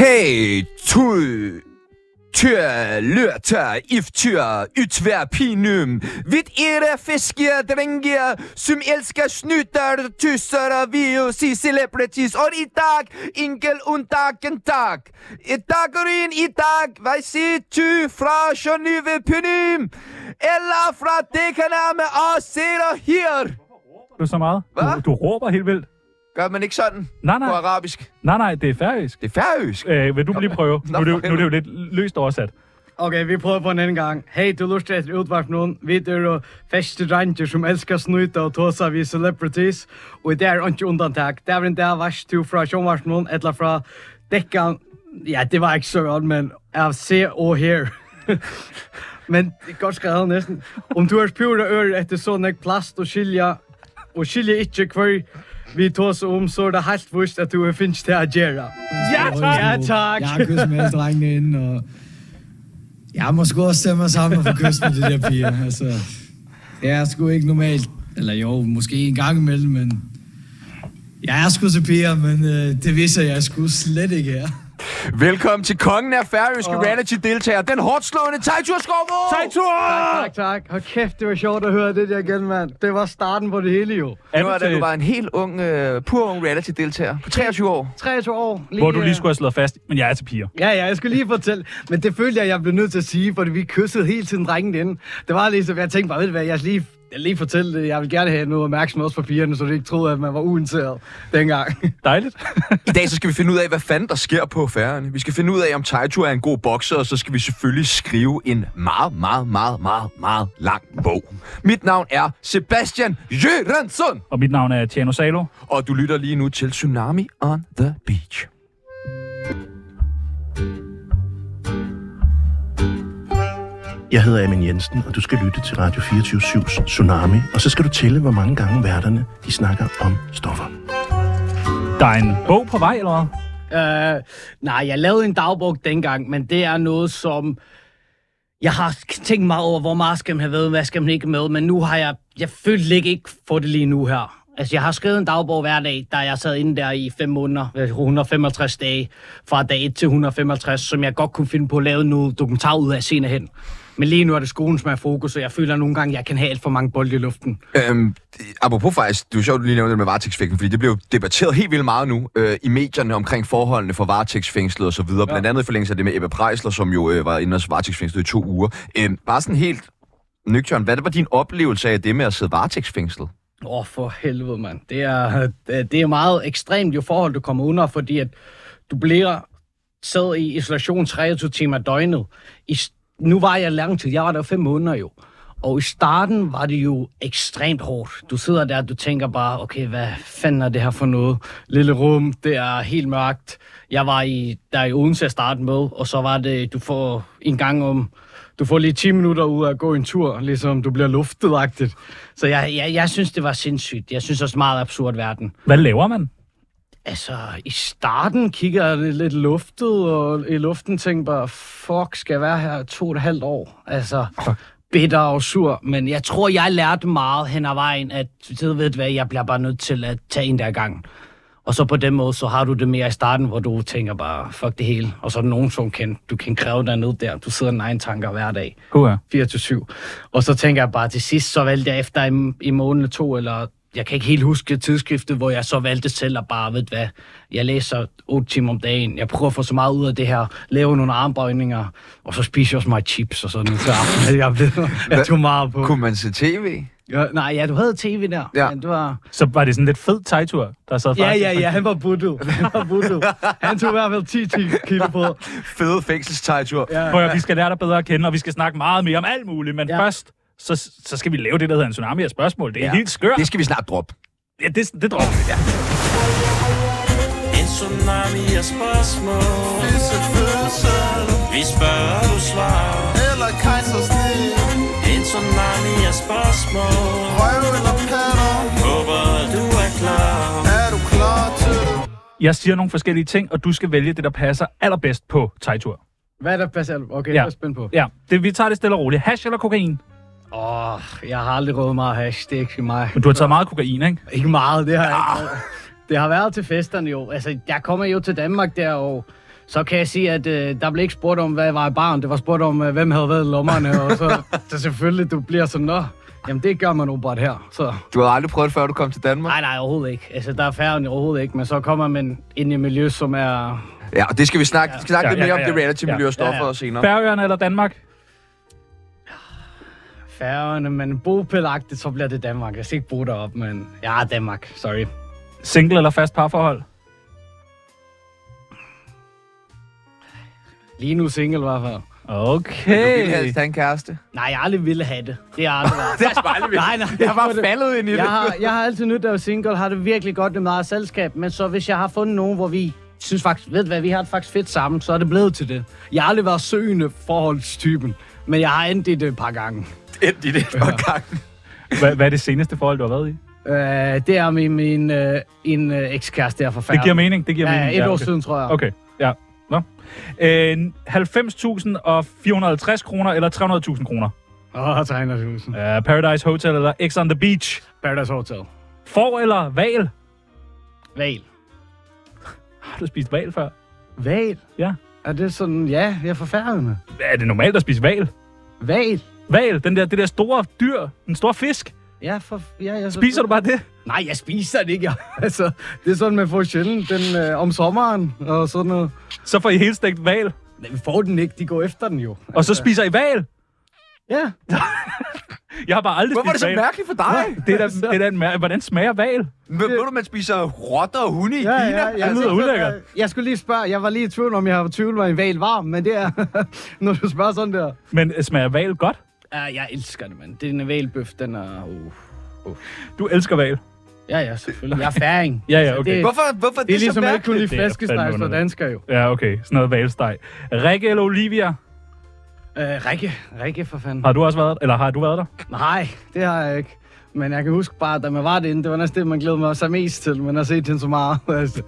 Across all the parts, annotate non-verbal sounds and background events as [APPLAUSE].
Læg, tud, tyr, lørtør, iftyr, ytvær, pinum. Vidt era fisker, drenger, som elsker snytter, tysser og virus i celebrities. Og i dag, enkel undtag, en dag. I dag går ind i dag, hvad siger du fra Genève Pinum? Eller fra Dekana med os, ser og her. Råber Du så meget. Hva? Du, du råber helt vildt. Gør man ikke sådan Nej, på nej, arabisk? nej, nej, det er færøsk. Det er færøsk. Øh, vil du lige prøve? Nu er, det, jo- nu er det jo lidt løst oversat. Ok, vi prøver på en anden gang. Hei, du lurer etter utvarp noen. Vi er jo feste ranger som elsker snuta og tåsa vi celebrities. Og det er ikke undantak. Det er en dag vers to fra sjånvarp noen, eller fra dekkan. Ja, det var ikke så godt, men av se og her. [LAUGHS] men godt skal jeg ha nesten. Om du er pure øre etter sånn ek plast og skilja, og skilja ikke hver vi tåsa om, så er det helt vist at du er finnes til å gjøre. Ja, tak! Ja, tak. Jeg har kysset med alle drengene inden, og jeg må sgu også tage mig sammen og få kysset med de der piger. Altså, jeg er sgu ikke normalt. Eller jo, måske en gang imellem, men... Jeg er sgu til piger, men øh, det viser jeg sgu slet ikke her. Velkommen til kongen af færøske oh. reality-deltager, den hårdt slående Tejtur Skovbo! Tak, tak. Hold kæft, det var sjovt at høre det der igen, mand. Det var starten på det hele jo. Er Nu du er det, til- du var en helt ung, uh, pur ung reality-deltager på 23 år. 23 år. Lige, Hvor du lige øh, skulle have slået fast, men jeg er til piger. Ja, ja, jeg skulle lige fortælle. Men det følte jeg, jeg blev nødt til at sige, fordi vi kyssede hele tiden drengen inden. Det var ligesom, jeg tænkte bare, ved du hvad, jeg skal lige, jeg lige fortælle det. Jeg vil gerne have noget opmærksomhed også for pigerne, så de ikke troede, at man var uinteresseret dengang. Dejligt. I dag så skal vi finde ud af, hvad fanden der sker på færgerne. Vi skal finde ud af, om Tejtur er en god bokser, og så skal vi selvfølgelig skrive en meget, meget, meget, meget, meget lang bog. Mit navn er Sebastian Jørgensen, Og mit navn er Tjano Salo. og du lytter lige nu til Tsunami on the Beach. Jeg hedder Amin Jensen, og du skal lytte til Radio 24-7's Tsunami. Og så skal du tælle, hvor mange gange værterne de snakker om stoffer. Der er en bog på vej, eller hvad? Øh, nej, jeg lavede en dagbog dengang, men det er noget, som... Jeg har tænkt meget over, hvor meget skal man have været, hvad skal man ikke med, men nu har jeg... Jeg følte ikke, ikke for det lige nu her. Altså, jeg har skrevet en dagbog hver dag, da jeg sad inde der i 5 måneder, øh, 165 dage, fra dag 1 til 165, som jeg godt kunne finde på at lave noget dokumentar ud af senere hen. Men lige nu er det skolen, som er fokus, og jeg føler nogle gange, at jeg kan have alt for mange bolde i luften. Øhm, apropos faktisk, det er jo sjovt, at du lige nævnte det med varetægtsfængsling, fordi det bliver jo debatteret helt vildt meget nu øh, i medierne omkring forholdene for varetægtsfængslet og så videre. Blandt andet i forlængelse af det med Ebbe Prejsler, som jo øh, var inde og varetægtsfængslet i to uger. Øhm, bare sådan helt nøgtjern, hvad var din oplevelse af det med at sidde varetægtsfængslet? Åh, oh, for helvede, mand. Det er, øh, det er meget ekstremt jo forhold, du kommer under, fordi at du bliver sad i isolation 23 timer døgnet. I, s- nu var jeg lang tid. Jeg var der fem måneder jo. Og i starten var det jo ekstremt hårdt. Du sidder der, og du tænker bare, okay, hvad fanden er det her for noget? Lille rum, det er helt mørkt. Jeg var i, der i Odense at starte med, og så var det, du får en gang om, du får lige 10 minutter ud af at gå en tur, ligesom du bliver luftet-agtigt. Så jeg, jeg, jeg synes, det var sindssygt. Jeg synes også meget absurd verden. Hvad laver man? Altså, i starten kigger jeg lidt luftet, og i luften tænker bare, fuck, skal jeg være her to og et halvt år? Altså, bitter og sur, men jeg tror, jeg lærte meget hen ad vejen, at du ved du hvad, jeg bliver bare nødt til at tage en der gang. Og så på den måde, så har du det mere i starten, hvor du tænker bare, fuck det hele. Og så er der nogen, som kan, du kan kræve dig ned der. Du sidder med egen tanker hver dag. Hurra. 4-7. Og så tænker jeg bare til sidst, så valgte jeg efter en, i måned eller to, eller jeg kan ikke helt huske tidsskriftet, hvor jeg så valgte selv at bare, ved du hvad, jeg læser 8 timer om dagen, jeg prøver at få så meget ud af det her, lave nogle armbøjninger, og så spiser jeg også meget chips og sådan noget. Så [LAUGHS] jeg, jeg, blev, jeg tog meget på. Kunne man se tv? Ja, nej, ja, du havde tv der. Ja. Men det var... Så var det sådan lidt fed tegtur, der sad Ja, faktisk. ja, ja, han var [LAUGHS] buttet. Han var buttet. Han tog i hvert fald 10 kilo på. Fede fængselstejtur. Ja. Prøv, at høre, vi skal lære dig bedre at kende, og vi skal snakke meget mere om alt muligt, men Ja. ja. først, så, så skal vi lave det, der hedder en tsunami af spørgsmål. Det er ja. helt skørt. Det Det, skal vi snart droppe. ja, det, det dropper vi. Ja. En tsunami af spørgsmål Vi spørger, du svarer Eller kejsersnit En tsunami af spørgsmål Røv eller patter Håber, du er klar Er du klar til det? Jeg siger nogle forskellige ting, og du skal vælge det, der passer allerbedst på tegtur. Hvad er der passer? Okay, ja. Ja. jeg er spændt på. Ja, det, vi tager det stille og roligt. Hash eller kokain? Åh, oh, jeg har aldrig røget meget hash. Det er ikke mig. Men du har taget meget kokain, ikke? Ikke Ah. meget, det har jeg ikke. Det har været til festerne jo. Altså, jeg kommer jo til Danmark der, og Så kan jeg sige, at øh, der blev ikke spurgt om, hvad var i barn. Det var spurgt om, øh, hvem havde været i [LAUGHS] lommerne. og så, så selvfølgelig, du bliver sådan, nå, jamen det gør man åbenbart her. Så Du har aldrig prøvet det, før du kom til Danmark? nej, nej, overhovedet ikke. Altså, der er færgen overhovedet ikke, men så kommer man ind i et miljø, som er Ja, og det skal vi snakke, vi skal snakke Ja, lidt ja, mere om, ja, det ja. reality-miljø Ja, og stoffer ja. og senere. Færøerne eller Danmark? færgerne, men bopælagtigt, så bliver det Danmark. Jeg skal ikke bo derop, men ja, Danmark, sorry. Single eller fast parforhold? Lige nu single i hvert fald. Du vil Okay. helst have en kæreste. Nej, jeg aldrig ville have det. Det er [LAUGHS] aldrig været. det er aldrig Nej, nej. Jeg var faldet ind i det. Jeg har, jeg har altid nyt af at være single, har det virkelig godt med meget selskab, men så hvis jeg har fundet nogen, hvor vi synes faktisk, ved du hvad, vi har det faktisk fedt sammen, så er det blevet til det. Jeg har aldrig været søgende forholdstypen, men jeg har endt i det et øh, par gange. Endt i det et par gange. Hvad, hvad er det seneste forhold, du har været i? Øh, det er min, min øh, en øh, ekskæreste, jeg er Det forfærdelig. giver mening, det giver Ja, mening. et år okay. siden, tror jeg. Okay, ja. Nå. Øh, 90.450 kroner eller 300.000 kroner? Åh, oh, tegner tusind. Uh, Paradise Hotel eller X on the Beach? Paradise Hotel. Får eller val? Val. Har du spist val før? Val? Ja. Er det sådan, ja, jeg er forfærdende. Er det normalt at spise val? Val? Val, den der, det der store dyr, den store fisk. Ja, for, ja, jeg Spiser du bare det? Nej, jeg [LAUGHS] spiser det ikke. altså, det er sådan, man får sjældent den øh, om sommeren og sådan noget. Så får I helt stegt val. Nej, vi får den ikke. De går efter den jo. Og så spiser I val. Ja. Jeg har bare aldrig Hvorfor er det spist så hval. mærkeligt for dig? Det er da, det er da en mær- Hvordan smager val? Men ved du, man spiser rotter og hunde i ja, Kina? Altså, ja, ja. Det lyder ulækkert. altså, øh, Jeg skulle lige spørge. Jeg var lige i tvivl, om jeg har tvivl, var en val varm, men det er, [LAUGHS] når du spørger sådan der. Men øh, smager val godt? Ja, jeg elsker det, mand. Det er en valbøf, den er... Uh. Du elsker val. Ja, ja, selvfølgelig. Jeg er færing. Ja, ja, Altså, okay. Det, Hvorfor, hvorfor er det det, er så ligesom, at jeg ikke mærkeligt? kunne [LAUGHS] lide Det er fandme flæskesteg, så underligt. dansker jo. Ja, okay. Sådan noget valsteg. Rikke eller Olivia? Øh, Rikke. Rikke, for fanden. Har du også været Eller har du været der? Nej, det har jeg ikke. Men jeg kan huske bare, da man var derinde, det var næsten det, man glædede mig så mest til. Man har set hende så meget. [LAUGHS] Altså,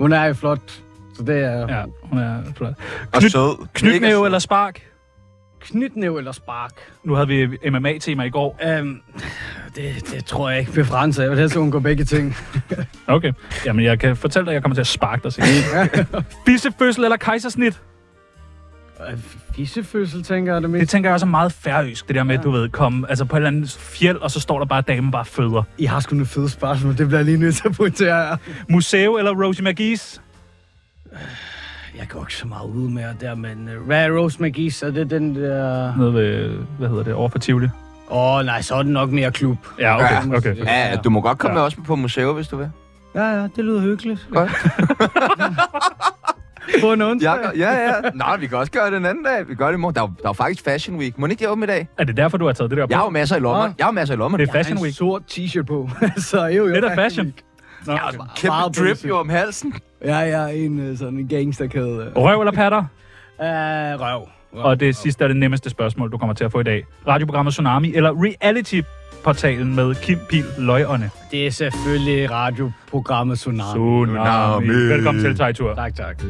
hun er jo flot. Så det er ja. Ja, hun er flot. Og Knyt, sød. knytnæve eller spark? knytnæv eller spark. Nu havde vi MMA-tema i går. Øhm, det, det, tror jeg ikke begrænser. Jeg vil helst undgå begge [LAUGHS] ting. Okay. Jamen, jeg kan fortælle dig, at jeg kommer til at sparke [LAUGHS] dig senere. Bissefødsel eller kejsersnit? Øh, Fissefødsel, tænker jeg det Det mest. tænker jeg også er meget færøsk, det der med, at du ved, komme altså på et eller andet fjeld, og så står der bare, at damen bare føder. I har sgu nogle fede spørgsmål. Det bliver jeg lige nødt til at pointere jer. Museo eller Rosie Magis? Jeg går ikke så meget ud med det der, men uh, hvad er Rose McGee's? Er det den der... Nede ved, hvad hedder det, over for Tivoli? Åh, oh, nej, så er det nok mere klub. Ja, okay, Ja. okay. Ja, ja, du må godt komme med os på museet, hvis du vil. Ja, ja, det lyder hyggeligt. Godt. På en onsdag. Jeg, gør- ja, ja. Nej, vi kan også gøre det en anden dag. Vi gør det i morgen. Der er, jo- der er jo faktisk Fashion Week. Må den ikke de åbne i dag? Er det derfor, du har taget det der på? Jeg har jo masser i lommen. Nå. Jeg har jo masser i lommen. Det er Fashion en Week. sort t-shirt på. [LAUGHS] så jo, jo. Det er da fashion. Nå, okay. Kæmpe drip drip, jo om halsen. Ja, ja, en øh, sådan en gangsterkæde. Øh, Røv eller patter? røv. Og det sidste er det nemmeste spørgsmål, du kommer til at få i dag. Radioprogrammet Tsunami eller reality-portalen med Kim Pil Løjånde? Det er selvfølgelig radioprogrammet Tsunami. Tsunami. Velkommen til, Tejtur. Tak, tak.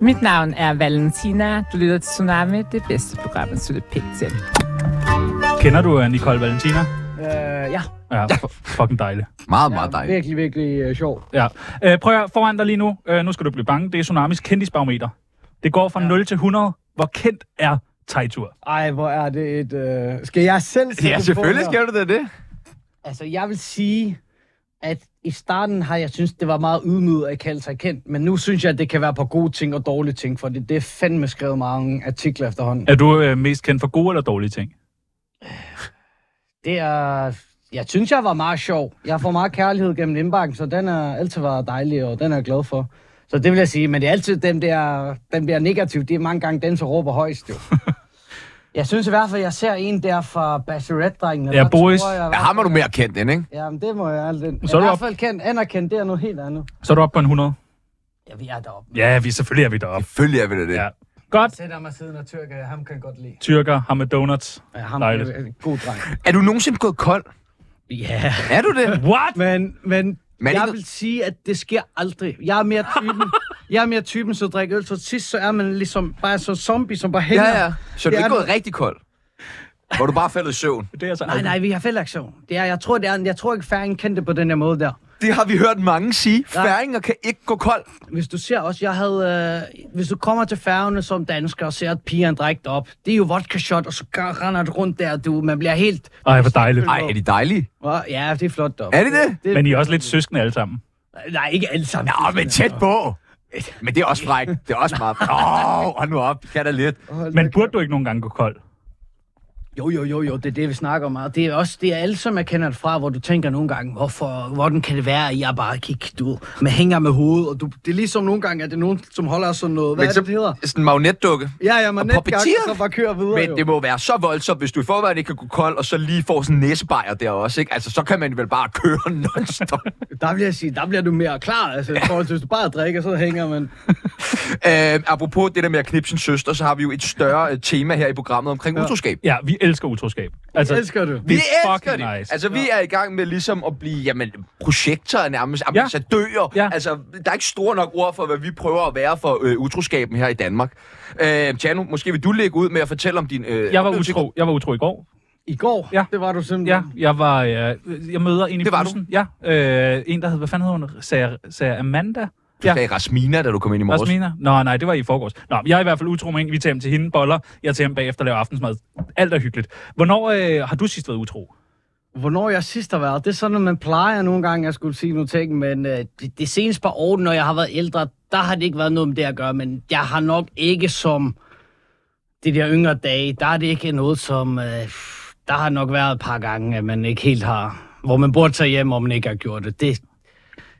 Mit navn er Valentina. Du lytter til Tsunami, det bedste program, at slutte pænt til. Kender du øh, Nicole Valentina? Øh, ja, Ja, fu- fucking dejlig. Meget, meget dejligt. virkelig, virkelig øh, sjovt. Ja. Øh, prøv at høre, foran dig lige nu. Øh, nu skal du blive bange. Det er Tsunamis kendisbarometer. Det går fra ja. 0 til 100. Hvor kendt er Tejtur? Ej, hvor er det et... Øh... Skal jeg selv sætte Ja, det på selvfølgelig her? skal du da det. Altså, jeg vil sige, at i starten har jeg synes det var meget ydmyget at kalde sig kendt, men nu synes jeg, at det kan være på gode ting og dårlige ting, for det, det er fandme skrevet mange artikler efterhånden. Er du øh, mest kendt for gode eller dårlige ting? Det er... Jeg synes, jeg var meget sjov. Jeg får meget kærlighed gennem indbakken, så den har altid været dejlig, og den er jeg glad for. Så det vil jeg sige, men det er altid dem der, dem der negative, det er mange gange dem, som råber højst, [LAUGHS] jo. jeg synes i hvert fald, jeg ser en der fra Bachelorette-drengene. Ja, Der Boris. tror jeg i Ja, hvert ham er du fald- mere kendt end, ikke? Jamen, det må jeg aldrig. Så Så er I du hvert op- fald kendt, anerkendt, det er noget helt andet. Så er du oppe på en 100. Ja, vi er deroppe. Ja, vi, selvfølgelig er vi deroppe. Selvfølgelig er vi da det. Ja. Godt. sætter mig siden og tyrker, jeg ham kan jeg godt lide. Tyrker, ham med donuts. Ja, ham Dejligt. er en god dreng. Er du nogensinde gået kold? [LAUGHS] Ja. Er du det? What? Men, men Men jeg ikke- vil sige, at det sker aldrig. Jeg er mere [LAUGHS] typen, jeg er mere typen så drikker øl, så sidst så er man ligesom bare så zombie, som bare hænger. Ja, ja. Så du er Det er ikke gået det. rigtig kold? Hvor du bare faldet i søvn? Det er altså Nej, nej, vi har fælles aktion. Det er, jeg tror, det er, en- jeg tror ikke, færingen kendte på den her måde der. Det har vi hørt mange sige. Ja. Færinger kan ikke gå kold. Hvis du ser også, jeg havde... Øh, hvis du kommer til færgerne som dansker og ser, at pigerne drægt op, det er jo vodka shot, og så gør, render du rundt der, du. Man bliver helt... Ej, hvor dejligt. Ej, er de dejlige? Hva? Ja, det er flot, dog. Er det det? Men I er også lidt søskende alle sammen. Nej, ikke alle sammen. Nå, men tæt på. Men det er også frækt. Det er også meget frækt. Åh, oh, hold nu op. Kan da lidt. Men burde du ikke nogen gange gå kold? Jo, jo, jo, jo, det er det, vi snakker om meget. Det er også det er alle, som jeg kender det fra, hvor du tænker nogle gange, hvorfor, hvordan kan det være, at jeg bare kan ikke, du, man hænger med hovedet, og du, det er ligesom nogle gange, at det er nogen, som holder sådan noget. Hvad er det, det hedder? Sådan en magnetdukke. Ja, ja, man Og netgang, puppeteer. så bare kører videre. Men det jo. må være så voldsomt, hvis du i forvejen ikke kan gå kold, og så lige får sådan en næsebajer der også, ikke? Altså, så kan man vel bare køre [LAUGHS] non-stop. Der vil jeg sige, der bliver du mere klar. Altså, i forhold til, hvis du bare drikker, så hænger man. øh, apropos det der med at knipse sin søster, så har vi jo et større øh, tema her i programmet omkring ja. utroskab. Ja, vi elsker utroskab. Altså, elsker det. det er Vi elsker fucking det. nice. Altså, vi er i gang med ligesom at blive, jamen, projekter nærmest, Ja. ambassadører. Ja. Altså, der er ikke store nok ord for, hvad vi prøver at være for øh, utroskaben her i Danmark. Øh, Tjano, måske vil du lægge ud med at fortælle om din... Øh, Jeg var oplevelse i går. utro, jeg var utro i går. I går, Ja. ja. det var du Ja, simpelthen. jeg var... Øh, jeg møder en i Det var du. bussen. Ja, øh, en, der hed... Hvad fanden hed hun? Sarah, Sarah Amanda? Du sagde Rasmina, da du kom ind i morges. Rasmina? Nå, nej, det var i forgårs. Nå, jeg er i hvert fald utro med en. Vi tager hjem til hende, boller. Jeg tager hjem bagefter og laver aftensmad. Alt er hyggeligt. Hvornår øh, har du sidst været utro? Hvornår jeg sidst har været, det er sådan, at man plejer nogle gange, jeg skulle sige nogle ting, men øh, det, det seneste par år, når jeg har været ældre, der har det ikke været noget med det at gøre, men jeg har nok ikke som de der yngre dage, der er det ikke noget som, øh, der har nok været et par gange, at man ikke helt har, hvor man burde tage hjem, og man ikke har gjort det. Det,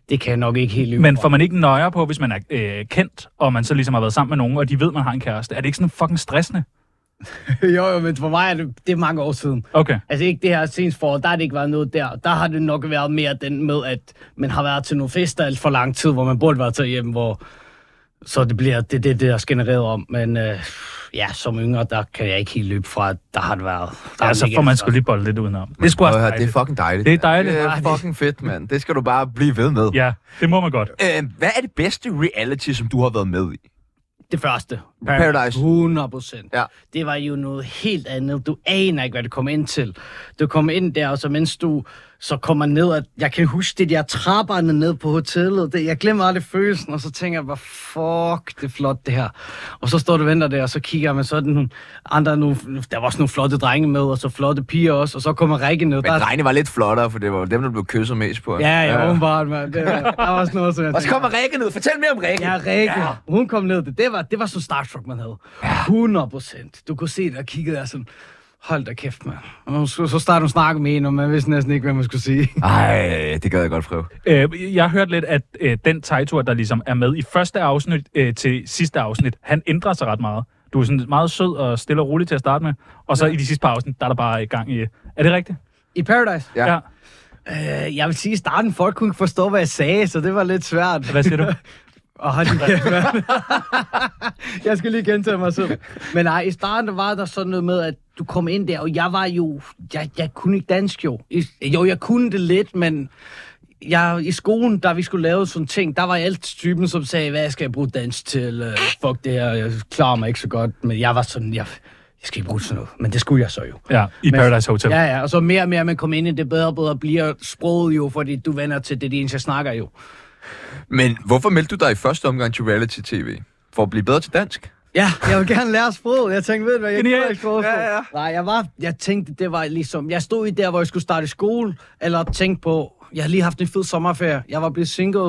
det kan jeg nok ikke helt løbe Men fra. får man ikke nøjere på, hvis man er øh, kendt, og man så ligesom har været sammen med nogen, og de ved, man har en kæreste? Er det ikke sådan fucking stressende? [LAUGHS] jo, jo, men for mig er det, det er mange år siden. Okay. Altså ikke det her senest forår, der har det ikke været noget der. Der har det nok været mere den med, at man har været til nogle fester alt for lang tid, hvor man burde være til hjem, hvor så det bliver det, det, det der er genereret om. Men øh, ja, som yngre, der kan jeg ikke helt løbe fra, at der har det været. Der Ja, så får man sgu lige bolde lidt udenom. Det skulle Prøv at høre, også det er dejligt. fucking dejligt. Det er dejligt. Det er fucking fedt, mand. Det skal du bare blive ved med. Ja, det må man godt. Øh, hvad er det bedste reality, som du har været med i? Det første. Paradise. 100 procent. Ja. Det var jo noget helt andet. Du aner ikke, hvad det kom ind til. Du kom ind der, og så mens du så kommer ned, og jeg kan huske det der trapperne ned på hotellet. Det, jeg glemmer aldrig følelsen, og så tænker jeg bare, fuck, det er flot det her. Og så står du og venter der, og så kigger jeg med sådan nogle andre, nu, der var også nogle flotte drenge med, og så flotte piger også, og så kommer Rikke ned. Men der, drengene var lidt flottere, for det var dem, der blev kysset mest på. ja, ja, åbenbart, mand. Det, var- der var også noget, som jeg Og så tænkte, kommer Rikke ned. Fortæl mere om Rikke. Ja, Rikke. Ja. Hun kom ned. Det, det, var, det var så starstruck, man havde. 100 procent. Du kunne se det og kiggede der sådan, hold da kæft, mand. Og hun skulle- så startede hun snakke med en, og man vidste næsten ikke, hvad man skulle sige. Ej, det gad jeg godt prøve. Øh, jeg har hørt lidt, at øh, den tegtur, der ligesom er med i første afsnit øh, til sidste afsnit, han ændrer sig ret meget. Du er sådan meget sød og stille og rolig til at starte med, og så ja. i de sidste par afsnit, der er der bare i gang i... Er det rigtigt? I Paradise? Ja. Øh, jeg vil sige, i starten folk kunne ikke forstå, hvad jeg sagde, så det var lidt svært. [LAUGHS] Hvad siger du? Og hold din kæft, mand. [LAUGHS] Jeg skal lige gentage mig selv. Men nej, i starten der var der sådan noget med, at du kom ind der, og jeg var jo... Jeg, jeg kunne ikke dansk jo. I, jo, jeg kunne det lidt, men... Jeg, I skolen, da vi skulle lave sådan ting, der var jeg alt typen, som sagde, hvad skal jeg bruge dansk til? Øh, Fuck det her, jeg klarer mig ikke så godt. Men jeg var sådan, jeg, jeg skal ikke bruge til noget. Men det skulle jeg så jo. Ja, i Men- Paradise Hotel. Ja, ja, og så mere og mere man kommer ind i det, bedre og bedre bliver sproget jo, fordi du vender til det, de eneste jeg snakker jo. Men hvorfor meldte du dig i første omgang til reality-tv? For at blive bedre til dansk? Ja, jeg vil gerne lære sproget. Jeg tænkte, ved du hvad, jeg Genialt. kan ikke sproget. Ja, ja. Nej, jeg, var, jeg tænkte, det var ligesom... Jeg stod i der, hvor jeg skulle starte i skole, eller tænkte på... Jeg har lige haft en fed sommerferie. Jeg var blevet single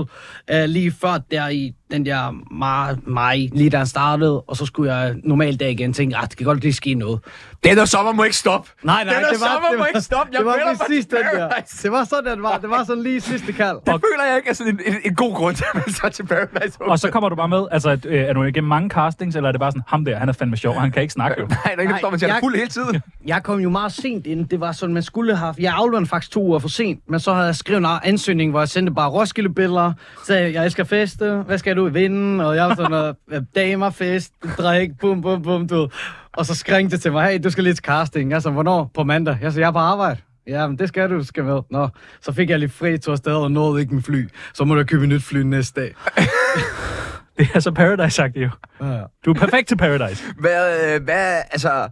uh, lige før der i den der maj, maj, lige da han startede. Og så skulle jeg normalt dag igen tænke, at det kan godt lige ske noget. Den der sommer må ikke stoppe. Nej, nej, den der det var, sommer det må var, ikke stoppe. Jeg det var melder mig præcis til den der. Paradise. Det var sådan, det var. Det var sådan lige sidste kald. Det føler jeg ikke er sådan en, en, en god grund til at melde sig til Paradise Hotel. Og så kommer du bare med, altså at, øh, er du igennem mange castings, eller er det bare sådan, ham der, han er fandme sjov, og han kan ikke [LAUGHS] snakke jo. Nej, der er ikke, der står, man siger, Nej, han er jeg- fuld hele tiden. Jeg kom jo meget sent ind. Det var sådan, man skulle have... Jeg afleverede faktisk to uger for sent, men så havde jeg skrevet en ansøgning, hvor jeg sendte bare Roskilde-billeder. Sagde, jeg elsker feste. Hvad skal du i vinden? Og jeg var sådan noget, "Øh, damer, fest, drik, bum, bum, bum, du. ved. Og så skrængte det til mig, hey, du skal lige til casting. Jeg sagde, hvornår? På mandag. Jeg sagde, jeg er på arbejde. Ja, men det skal du, du skal med. Nå, så fik jeg lidt fri, tog afsted og nåede ikke min fly. Så må jeg købe et nyt fly næste dag. [LAUGHS] Det er så Paradise-agtigt jo. Ja. Du er perfekt til Paradise. Hvad, øh, hvad, altså...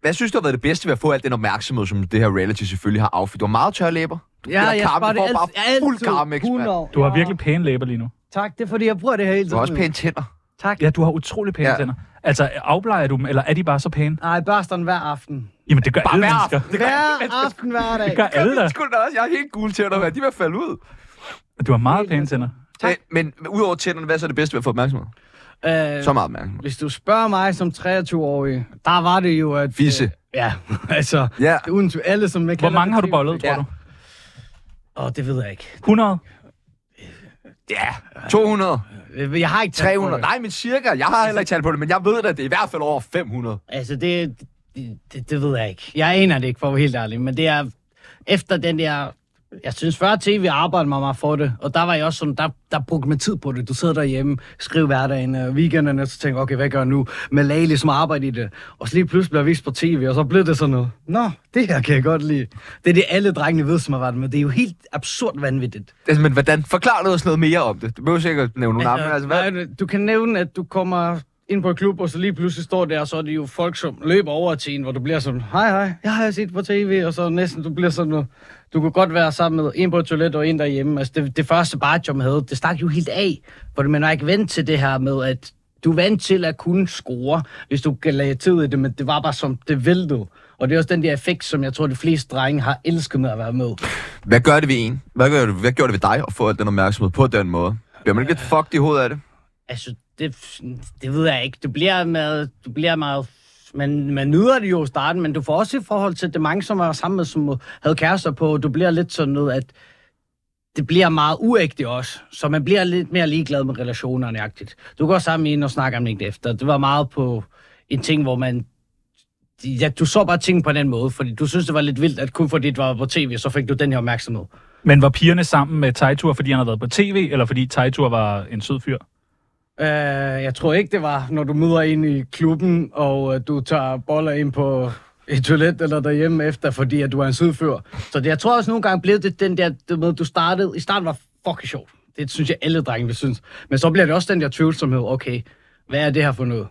Hvad synes du har været det bedste ved at få al den opmærksomhed, som det her reality selvfølgelig har affyret? Du har meget tørre læber. Ja, Eller jeg Carmen sparer det får alt, bare fuld Carmex, mand. 100. Du har virkelig pæne læber lige nu. Tak, det er fordi, jeg bruger det her hele Du har også tiden. pæne tænder. Tak. Ja, du har utrolig pæne Ja. ja. tænder. Altså, afblejer du dem, eller er de bare så pæne? Nej, jeg børster den hver aften. Jamen, det gør Bare alle hver mennesker. aften. Det gør, Hver aften, hver dag. Det gør alle der. det skulle da også. Jeg har helt gule tænder, mand. De vil falde ud. Du har meget pæne tænder. Men, men, men udover tænderne, hvad er så det bedste ved at få opmærksomhed? Øh, Så meget opmærksomhed. Hvis du spørger mig som 23-årig, der var det jo, at... Fisse. Øh, ja, [LAUGHS] altså... Ja. Uden til alle, som ikke Hvor mange har du bollet, tror Ja. du? Åh, oh, det ved jeg ikke. 100? Ja, 200, Øh, Jeg har ikke tal på 300. det. Nej, men cirka. Jeg har heller ikke talt på det, men jeg ved da, det er i hvert fald over 500. Altså, det, det, det, det ved jeg ikke. Jeg aner det ikke, for at være helt ærlig. Men det er efter den der... Jeg synes, før tv arbejdede man meget for det, og der var jeg også sådan, der, der brugte man tid på det. Du sidder derhjemme, skriver hverdagen og weekenderne, og så tænker okay, hvad gør jeg nu? Men lagde ligesom arbejde i det. Og så lige pludselig bliver jeg vist på tv, og så blev det sådan noget. Nå, det her kan jeg godt lide. Det er det, alle drengene ved, som har været med. Det er jo helt absurd vanvittigt. Altså, men hvordan? Forklar noget, noget mere om det. Du behøver sikkert nævne nogle navne. men Altså, hvad? nej, du kan nævne, at du kommer ind på en klub, og så lige pludselig står der, og så er det jo folk, som løber over til en, hvor du bliver sådan, hej hej, jeg har jeg set på tv, og så næsten, du bliver sådan, du kunne godt være sammen med en på et toilet og en derhjemme. Altså det, det første barjob, man havde, det stak jo helt af, for man var ikke vant til det her med, at du er vant til at kunne score, hvis du kan lagde tid i det, men det var bare som, det væltede. Og det er også den der effekt, som jeg tror, de fleste drenge har elsket med at være med. Hvad gør det ved en? Hvad, gør det, hvad gjorde det ved dig at få al den opmærksomhed på den måde? Bliver man ikke lidt fucked i hovedet af det? Altså, det, det ved jeg ikke. Du bliver meget... Du bliver meget man, man nyder det jo i starten, men du får også i forhold til det mange, som var sammen med, som havde kærester på, du bliver lidt sådan noget, at det bliver meget uægte også. Så man bliver lidt mere ligeglad med relationerne -agtigt. Du går sammen med en og snakker om det ikke efter. Det var meget på en ting, hvor man... Ja, du så bare ting på den måde, fordi du synes, det var lidt vildt, at kun fordi det var på tv, så fik du den her opmærksomhed. Men var pigerne sammen med Tejtur, fordi han havde været på tv, eller fordi Tejtur var en sød fyr? Øh, jeg tror ikke, det var, når du møder ind i klubben, og øh, du tager boller ind på et toilet eller derhjemme efter, fordi at du er en sydfør. Så det, jeg tror også nogle gange blev det den der, det med, du startede, i starten var fucking sjovt. Det synes jeg, alle drenge vil synes. Men så bliver det også den der tvivlsomhed, okay, hvad er det her for noget?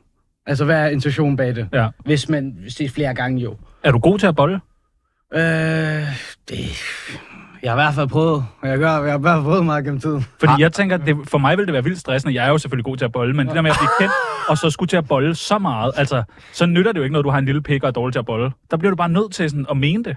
Altså, hvad er intentionen bag det? Ja. Hvis man, hvis det er flere gange jo. Er du god til at bolle? Øh, det, jeg har i hvert fald prøvet, og jeg, gør, jeg har i hvert fald prøvet meget gennem tiden. Fordi jeg tænker, det, for mig ville det være vildt stressende. Jeg er jo selvfølgelig god til at bolle, men det der med at blive kendt, og så skulle til at bolle så meget, altså, så nytter det jo ikke noget, du har en lille pik og er dårlig til at bolle. Der bliver du bare nødt til sådan at mene det.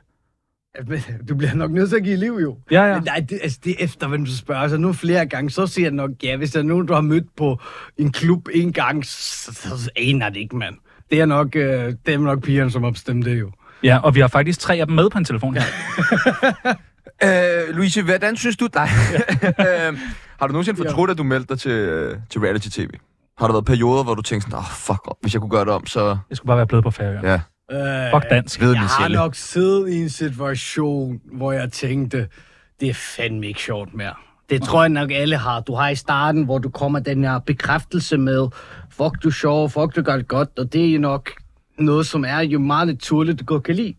[LAUGHS] Du bliver nok nødt til at give liv, jo. Ja, ja. Men nej, det, altså, det er efter, hvem du spørger. Så nu flere gange, så siger jeg nok, ja, hvis der er nogen, du har mødt på en klub en gang, så, så, så aner det ikke, mand. Det er nok, øh, det er nok pigerne, som har bestemt det, jo. Ja, og vi har faktisk tre af dem med på en telefon her. Øh, Louise, hvordan synes du [LAUGHS] dig? øh, har du nogensinde fortrudt, at du meldte dig til, øh, til reality-tv? Har der været perioder, hvor du tænkte sådan, oh, fuck, hvis jeg kunne gøre det om, så... Jeg skulle bare være blevet på færøerne. Ja, Øh, Fuck dansk. ved jeg min har sjæle. nok siddet i en situation, hvor jeg tænkte, det er fandme ikke sjovt mere. Det tror jeg nok alle har. Du har i starten, hvor du kommer den her bekræftelse med, fuck du er sjov, fuck du gør det godt, og det er jo nok noget, som er jo meget naturligt, du godt kan lide.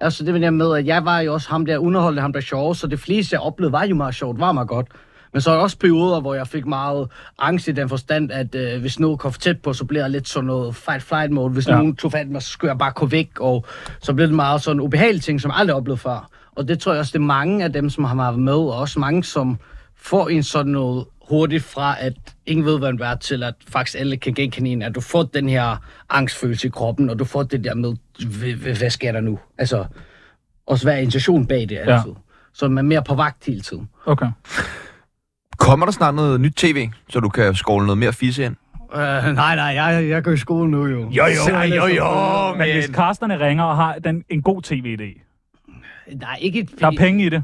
Altså det der med, at jeg var jo også ham der underholdende, ham der sjov, så det fleste jeg oplevede var jo meget sjovt, var meget godt. Men så er der også perioder, hvor jeg fik meget angst i den forstand, at øh, hvis nogen kom for tæt på, så bliver jeg lidt sådan noget fight-flight mode. Hvis ja. Ja. nogen tog fat i mig, så skulle jeg bare gå væk, og så blev det meget sådan ubehagelige ting, som jeg aldrig oplevede før. Og det tror jeg også, det er mange af dem, som har været med, og også mange, som får en sådan noget hurtigt fra, at ingen ved, hvad den er, til at faktisk alle kan genkende en, at du får den her angstfølelse i kroppen, og du får det der med, "Hva- hva- hvad sker der nu? Altså, også hvad er intentionen bag det altid? Ja. Så man er mere på vagt hele tiden. Okay. Kommer der snart noget nyt tv, så du kan scrolle noget mere fisse ind? Uh, nej, nej, jeg, jeg går i skole nu Jo, jo. jo, Ej, jo, jo, Men hvis men... Carsterne ringer og har den, en god tv-idé, Der er ikke et... der er penge i det.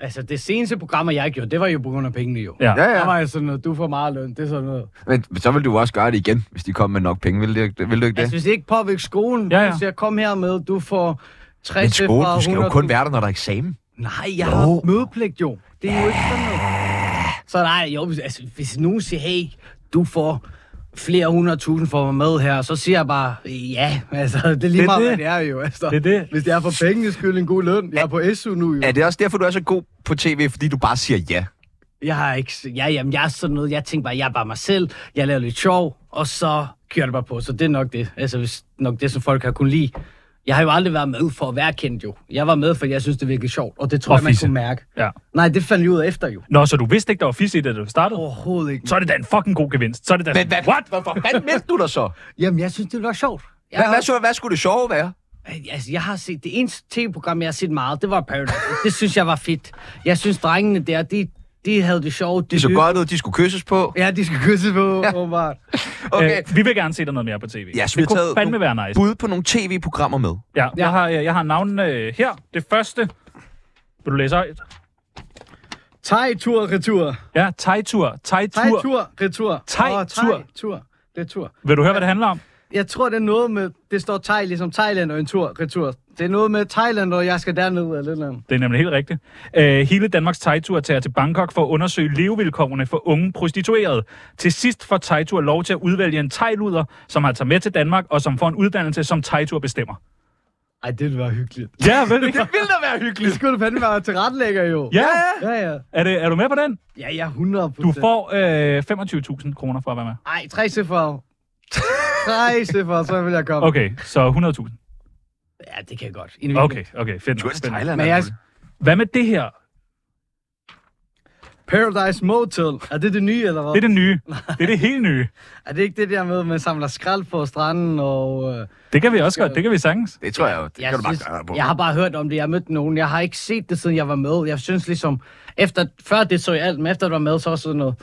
Altså, det seneste program, jeg gjorde, det var jo på grund af pengene jo. Ja. Ja, Der ja, var jeg sådan noget, du får meget løn, det er sådan noget. men så vil du også gøre det igen, hvis de kommer med nok penge. Vil du ikke, vil du ikke Altså, det? hvis det ikke påvirker skolen, Ja, ja. hvis jeg kom her med, du får 60 Men skole, fra du skal jo 100. kun være der, når der er eksamen. Nej, jeg har mødepligt jo. Det er jo ikke sådan noget. Så nej, jo, hvis- altså, hvis nogen siger, hey, du får flere hundredtusind for at være med her, så siger jeg bare, ja, altså, det er lige Det er meget, det. hvad det er jo. Altså, Det er det. Hvis det er for pengenes skyld en god løn, jeg er på SU nu jo. Er det også derfor, du er så god på tv, fordi du bare siger ja? Jeg har ikke... Ja, jamen, jeg er sådan noget. Jeg tænker bare, jeg er bare mig selv. Jeg laver lidt sjov, og så kører det bare på. Så det er nok det. Altså, hvis nok det, som folk har kunnet lide. Jeg har jo aldrig været med for at være kendt, jo. Jeg var med, fordi jeg synes, det virkelig sjovt, og det tror Og jeg, man fisse. kunne mærke. Ja. Nej, det fandt jeg ud af efter, jo. Nå, så du vidste ikke, der var fisk i det, da du startede? Overhovedet ikke. Så er det da en fucking god gevinst. Så er det da... Men hvad, What? hvorfor fanden meldte du dig så? Jamen, jeg synes, det var sjovt. Jeg, Hvad, hvad, så, hvad skulle det sjove være? Altså, jeg har set... Det eneste tv-program, jeg har set meget, det var Paradise. det synes jeg var fedt. Jeg synes, drengene der, de, de havde det sjovt. De så godt ud, de skulle kysses på. Ja, de skal kysse på, ja. åbenbart. Okay. Øh, vi vil gerne se dig noget mere på tv. Ja, så vi det har kunne taget fandme nogle være nice. bud på nogle tv-programmer med. Ja, jeg har, øh, jeg har navnene øh, her. Det første... Vil du læse højt? Thai-tur, retur. Ja, Thai-tur. Thai-tur. Thai-tur, retur. Thai-tur. Åh, Thai-tur, retur. Vil du høre, hvad det handler om? Jeg tror, det er noget med... Det står Thai, ligesom Thailand og en tur, retur. Det er noget med Thailand, og jeg skal derned eller et eller andet. Det er nemlig helt rigtigt. Øh, hele Danmarks Thaitur tager til Bangkok for at undersøge levevilkårene for unge prostituerede. Til sidst får Thaitur lov til at udvælge en thailuder, som han tager med til Danmark, og som får en uddannelse, som Thaitur bestemmer. Ej, det ville være hyggeligt. Ja, [LAUGHS] vel Vil ikke? da være Det hyggeligt. skulle du fandme være tilrettelægger, jo. Ja, Ja, ja. er, det, er du med på den? Ja, ja, 100 Du får øh, 25.000 kroner for at være med. Ej, tre cifre. tre cifre, så vil jeg komme. Okay, så 100.000. Ja, det kan jeg godt. En weekend. Okay, okay, fedt. Du nok, er til fedt nok. Thailand. altså. Men er jeg... du det? Hvad med det her? Paradise Motel. Er det det nye, eller hvad? Det er det nye. Det er det helt nye. Er det ikke det der med, at man samler skrald på stranden og... Øh... Det kan vi også godt. Det kan vi sagtens. Det tror jeg jo. Det kan du bare gøre på. jeg har bare hørt om det. Jeg har mødt nogen. Jeg har ikke set det, siden jeg var med. Jeg synes ligesom... Efter, før det så jeg alt, men efter du var med, så var sådan noget...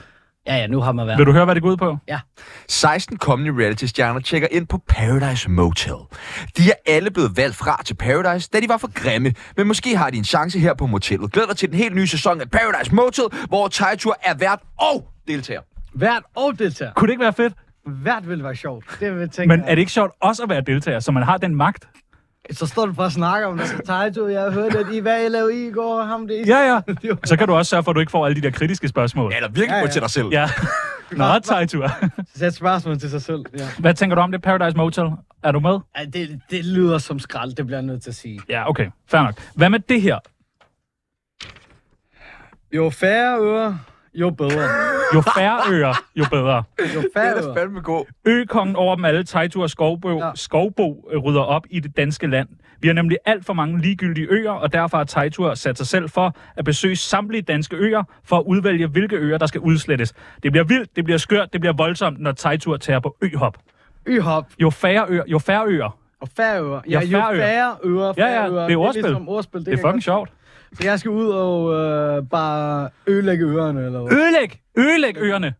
Ja, ja, nu har man været. Vil du høre, hvad det går ud på? 16 kommende reality-stjerner tjekker ind på Paradise Motel. De er alle blevet valgt fra til Paradise, da de var for grimme, men måske har de en chance her på motellet. Glæder dig til den helt nye sæson af Paradise Motel, hvor Tejtur er vært og deltager. Hvert og deltager. Kunne det ikke være fedt? Hvert vil være sjovt. Det vil jeg tænke. Men er det ikke sjovt også at være deltager, så man har den magt? Så står du bare og snakker om det. Så Taito, jeg hørte, at I hvad I lavede i går, og ham [LAUGHS] det. Ja, ja. Og så kan du også sørge for, at du ikke får alle de der kritiske spørgsmål. Ja, der er virkelig ja, Ja, ja. ja. til dig selv. [LAUGHS] Ja. Nå, Tejtur. Sæt spørgsmål til sig selv. Ja. [LAUGHS] Hvad tænker du om det Paradise Motel? Er du med? Ja, det, det lyder som skrald, det bliver jeg nødt til at sige. Ja, okay. Fair nok. Hvad med det her? Jo færre ører, jo bedre. Jo [LAUGHS] færre øer, jo bedre. Jo Det færre er da ører. fandme god. Økongen over dem alle, Tejtur Skovbo, ja. Ja. Skovbo, øh, rydder op i det danske land. Vi har nemlig alt for mange ligegyldige øer, og derfor har Tejtur sat sig selv for at besøge samtlige danske øer, for at udvælge, hvilke øer, der skal udslettes. Det bliver vildt, det bliver skørt, det bliver voldsomt, når Tejtur tager på øhop. Y-hop Jo færre øer, jo færre øer. og færre ører. Ja, jo færre ører. færre ører, Ja, færre ja, ører. det er ordspil. ligesom ordspil. Det, Det er kan jeg fucking sjovt. godt- Så jeg skal ud og øh, bare ødelægge ørerne, eller hvad? Ødelæg! Ødelæg øerne!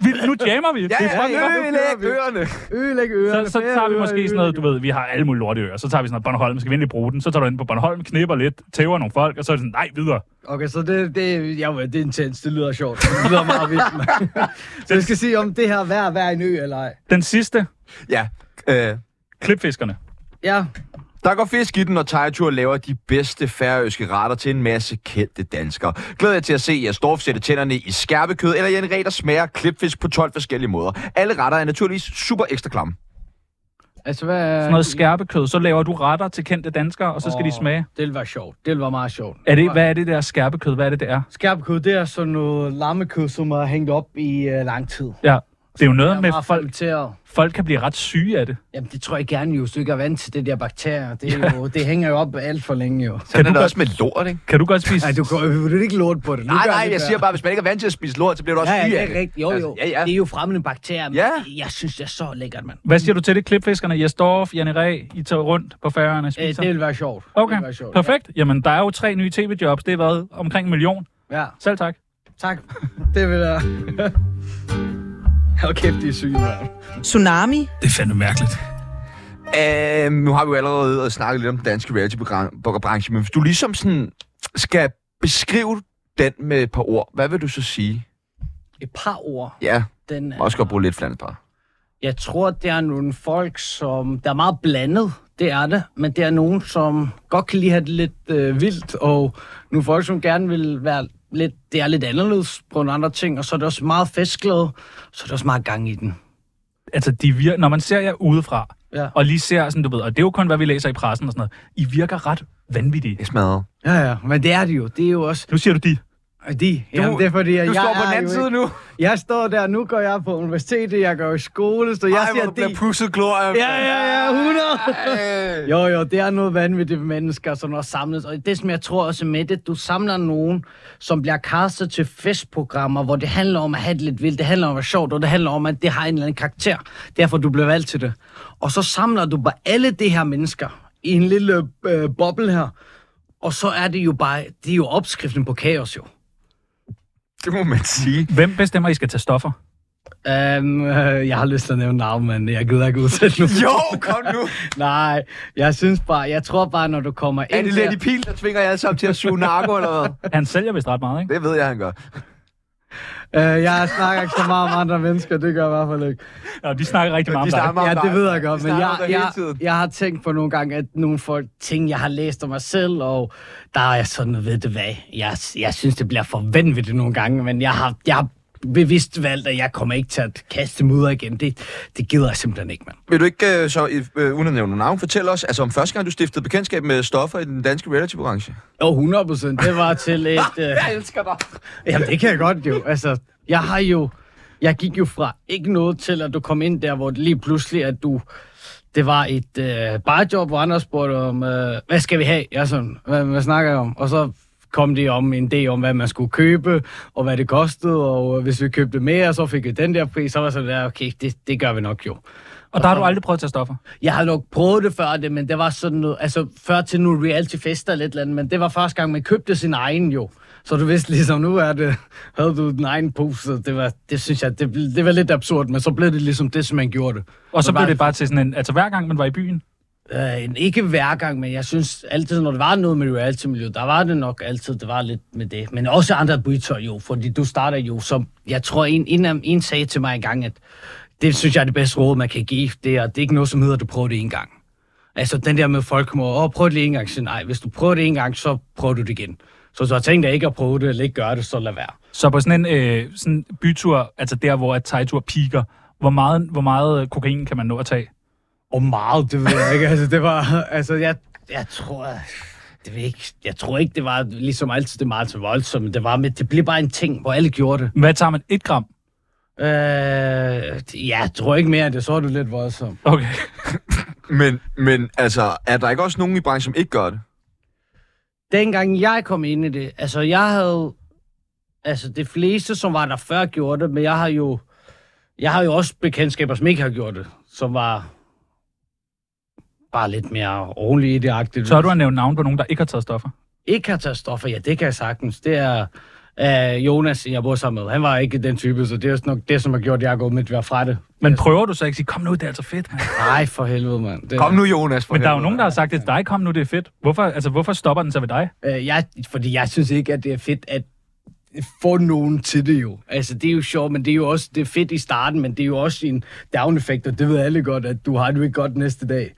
Vi, nu jammer vi. Ja, Det er ja, fucking ja, godt. ødelæg ørerne. Ødelægge ørerne, Så, så færre tager vi ører, måske sådan noget, du ødelægge- ved, vi har alle mulige lorteøer. Så tager vi sådan noget Bornholm, skal vi endelig bruge den? Så tager du ind på Bornholm, knipper lidt, tæver nogle folk, og så er det sådan, nej, videre. Okay, så det, det, ja, det er intens. Det lyder sjovt. Det lyder meget vildt, mand. Så jeg skal sige, om det her vejr er hver en ø, eller ej. Den sidste, Ja, øh, klipfiskerne. Ja, Der går fisk i den, og Tejtur laver de bedste færøske retter til en masse kendte danskere. Glæder jeg til at se jer Storff sætte tænderne i skærpekød, eller Jan Ræ, der smager klipfisk på 12 forskellige måder. Alle retter er naturligvis super ekstra klamme. altså hvad... er- Sådan noget skærpekød, så laver du retter til kendte danskere, og så skal de Åh, smage. Det ville være sjovt. Det ville være meget sjovt. Er det, hvad er det der skærpekød? Hvad er det, det er? Skærpekød, det er sådan noget lammekød, som er hængt op i øh, lang tid. Ja, det er jo noget er med, meget folk, fermenteret. folk kan blive ret syge af det. Jamen, det tror jeg gerne, jo. Hvis du ikke er vant til det der bakterier, det, er jo, det hænger jo op alt for længe, jo. Sådan du er det godt- også med lort, ikke? Kan du godt spise... Nej, du kan du kan ikke lort på det. Nu Nej, gør nej, det jeg der. siger bare, hvis man ikke er vant til at spise lort, så bliver du også Ja, ja, syg det af er rigtigt. Jo, Altså, jo. ja, ja. Det er jo fremmede bakterier, men Ja. jeg synes, det er så lækkert, mand. Hvad siger du til det, klipfiskerne? Jes Dorf, Janne Ræ, I tager rundt på færgerne og Øh, spiser? det ville være sjovt. Det Okay, ville være sjovt. perfekt. Jamen, der er jo tre nye tv-jobs. Det har været omkring en million. Ja, Selv tak. tak. Det vil jeg... [LAUGHS] Hold kæft, de er syge, mand. Tsunami. Det er fandme mærkeligt. Øhm, nu har vi jo allerede snakket lidt om den danske reality-branche, men hvis du ligesom sådan skal beskrive den med et par ord, hvad vil du så sige? Et par ord. Ja, Den er... også godt bruge lidt flandbar. Jeg tror, det er nogle folk, som... Der er meget blandet, det er det. Men det er nogen, som godt kan lide at have det lidt øh, vildt. Og nogle folk, som gerne vil være lidt... Det er lidt anderledes på nogle andre ting. Og så er det også meget festglade. Så er det også meget gang i den. Altså, de vir- når man ser jer udefra, Ja. og lige ser sådan, du ved, og det er jo kun, hvad vi læser i pressen og sådan noget. I virker ret vanvittige. Jeg smadrer. Ja, ja. Men det er det jo. Det er jo også... Nu siger du de. De. Jamen, det er fordi, at Du jeg står på er den anden jo side ikke- nu. Jeg står der, nu går jeg på universitetet, jeg går i skole, så jeg Ej, hvor siger du bliver de. pusset glorie. Ja, ja, ja, 100. Øh. Jo, jo, det er noget vanvittigt med mennesker, som har samlet. Og det, som jeg tror også med det, du samler nogen, som bliver castet til festprogrammer, hvor det handler om at have det lidt vildt, det handler om at være sjovt, og det handler om, at det har en eller anden karakter. Derfor du bliver valgt til det. Og så samler du bare alle de her mennesker i en lille øh, boble her. Og så er det jo bare, det er jo opskriften på kaos jo. Det må man sige. Hvem bestemmer, I skal tage stoffer? Um, øh, jeg har lyst til at nævne navn, men jeg gider ikke udsætte nu. Jo, kom nu. Nej, jeg synes bare, jeg tror bare, når du kommer ind Er det der- Lenny Pil, der tvinger jer alle sammen til at suge narko eller hvad? Han sælger vist ret meget, [LAUGHS] ikke? Det ved jeg, han gør. Øh, jeg snakker ikke så meget om andre mennesker, det gør jeg i hvert fald ikke. Ja, de snakker rigtig meget om De dig. snakker meget om Ja, dig. det ved jeg godt, De men snakker jeg, om dig hele jeg, tiden. jeg har tænkt på nogle gange, at nogle folk, ting, jeg har læst om mig selv, og der er jeg sådan, ved det hvad, jeg, jeg synes, det bliver for vanvittigt nogle gange, men jeg har, jeg har bevidst valgt, at jeg kommer ikke til at kaste mudder igen. Det, det gider jeg simpelthen ikke, mand. Vil du ikke, øh, så øh, øh, uden at nævne navn, fortælle os, altså om første gang, du stiftede bekendtskab med stoffer i den danske reality-branche? Jo, 100 procent. Det [LAUGHS] var til et... Øh... elsker dig. Jamen, det kan jeg godt jo. Altså, jeg har jo... Jeg gik jo fra ikke noget til, at du kom ind der, hvor det lige pludselig, at du... Det var et øh, barjob, hvor andre spurgte om, øh, hvad skal vi have? Jeg er sådan, hvad, hvad snakker jeg om? Og så kom de om en idé om, hvad man skulle købe, og hvad det kostede, og øh, hvis vi købte mere, så fik vi den der pris, så var jeg sådan der, okay, det, det gør vi nok jo. Og der har du aldrig prøvet at tage stoffer. Jeg har nok prøvet det før det, men det var sådan noget, altså før til nu reality fester eller et eller andet, men det var første gang, man købte sin egen jo. Så du vidste ligesom, nu er det, havde du din egen pose, så det var, det synes jeg, det, bl- det var lidt absurd, men så blev det ligesom det, som man gjorde det. Og så Men blev det bare til sådan en... Altså, hver gang man var i byen, Øh, en- ikke hver gang, men jeg synes altid, når det var noget med reality-miljø, der var det nok altid, det var lidt med det. Men også andre bytøj jo, fordi du starter jo som, jeg tror en, en, en sagde til mig engang, at det synes jeg er det bedste råd, man kan give, det er, det er ikke noget, som hedder, at du prøver det en gang. Altså den der med at folk kommer, åh, prøv det lige en gang, så nej, hvis du prøver det en gang, så prøver du det igen. Så så tænk dig ikke at prøve det, eller ikke gøre det, så lad være. så på sådan en øh, sådan bytur, altså der, hvor at tegtur piker, hvor meget, hvor meget kokain kan man nå at tage? Og meget, det ved jeg ikke. Altså, det var... Altså, jeg, jeg tror... Det ved jeg ikke. Jeg tror ikke, det var ligesom altid det meget så voldsomt. men Det, var med, det blev bare en ting, hvor alle gjorde det. Hvad tager man? Et gram? Øh, det- ja, jeg tror ikke mere end det. Så er du lidt voldsom. Okay. Men, men altså, er der ikke også nogen i branchen, som ikke gør det? Dengang jeg kom ind i det, altså jeg havde... Altså det fleste, som var der før, gjorde det, men jeg har jo... Jeg har jo også bekendtskaber, som ikke har gjort det, som var bare lidt mere ordentligt i det agtigt. Så har du at nævne navn på nogen, der ikke har taget stoffer. ikke har taget stoffer, ja, det kan jeg sagtens. Det er øh, Jonas, jeg bor sammen med. Han var ikke den type, så det er også nok det, som har gjort, at jeg er gået med til at være fra det. Men prøver du så ikke at sige, kom nu, det er altså fedt, mand. Nej, for helvede, mand. Det, Kom nu, Jonas. for Men der er jo helvede. nogen, der har sagt det til dig, kom nu, det er fedt. Hvorfor, altså, hvorfor stopper den så ved dig? Øh, jeg, fordi jeg synes ikke, at det er fedt at få nogen til det jo. Altså, det er jo sjovt, men det er jo også det er fedt i starten, men det er jo også en down-effekt, og det ved alle godt, at du har det jo ikke godt næste dag.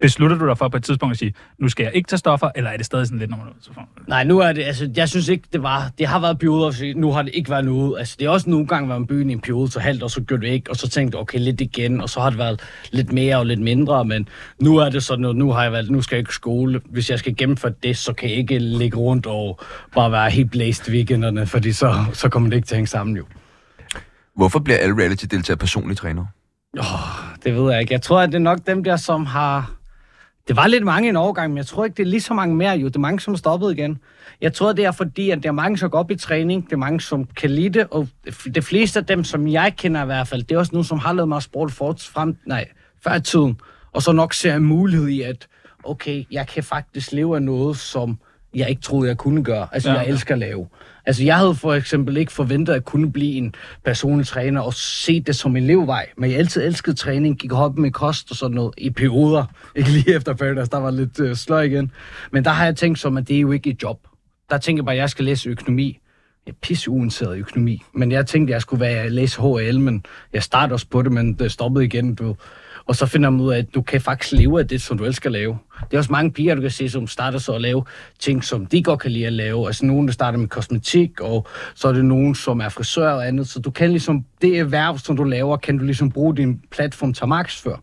Beslutter du dig for på et tidspunkt at sige, nu skal jeg ikke tage stoffer, eller er det stadig sådan lidt, når man er ude, så får man- Nej, nu er det, altså, jeg synes ikke, det var, det har været periode, og nu har det ikke været noget. Altså, det er også nogle gange været en byen i en periode, så halvt, og så gjorde det ikke, og så tænkte jeg, okay, lidt igen, og så har det været lidt mere og lidt mindre, men nu er det sådan noget, nu har jeg valgt, nu skal jeg ikke i skole. Hvis jeg skal gennemføre det, så kan jeg ikke ligge rundt og bare være helt blæst i weekenderne, fordi så, så kommer det ikke til at hænge sammen jo. Hvorfor bliver alle reality-deltagere personlige trænere? Det ved jeg ikke. Jeg tror, at det er nok dem der, som har... Det var lidt mange i en overgang, men jeg tror ikke, det er lige så mange mere jo. Det er mange, som er stoppet igen. Jeg tror, det er fordi, at der er mange, som går op i træning. Det er mange, som kan lide det. Og de fleste af dem, som jeg kender i hvert fald, det er også nogen, som har lavet meget sport for, frem, nej, før i tiden. Og så nok ser en mulighed i, at okay, jeg kan faktisk leve af noget, som jeg ikke troede, jeg kunne gøre. Altså, Ja. ja. jeg elsker at lave. Altså, jeg havde for eksempel ikke forventet at kunne blive en personlig træner og se det som en levevej. Men jeg altid elskede træning, gik op med kost og sådan noget i perioder. Ikke lige [LAUGHS] efter Paradise, der var lidt øh, sløj igen. Men der har jeg tænkt som, at det er jo ikke et job. Der tænker jeg bare, at jeg skal læse økonomi. Jeg er pisse uinteresseret i økonomi. Men jeg tænkte, at jeg skulle være læse HL, men jeg startede også på det, men det stoppede igen. Du. ved. Og så finder man ud af, at du kan faktisk leve af det, som du elsker at lave. Det er også mange piger, du kan se, som starter så at lave ting, som de godt kan lide at lave. Altså nogen, der starter med kosmetik, og så er det nogen, som er frisør og andet. Så du kan ligesom, det erhverv, som du laver, kan du ligesom bruge din platform til at markedsføre.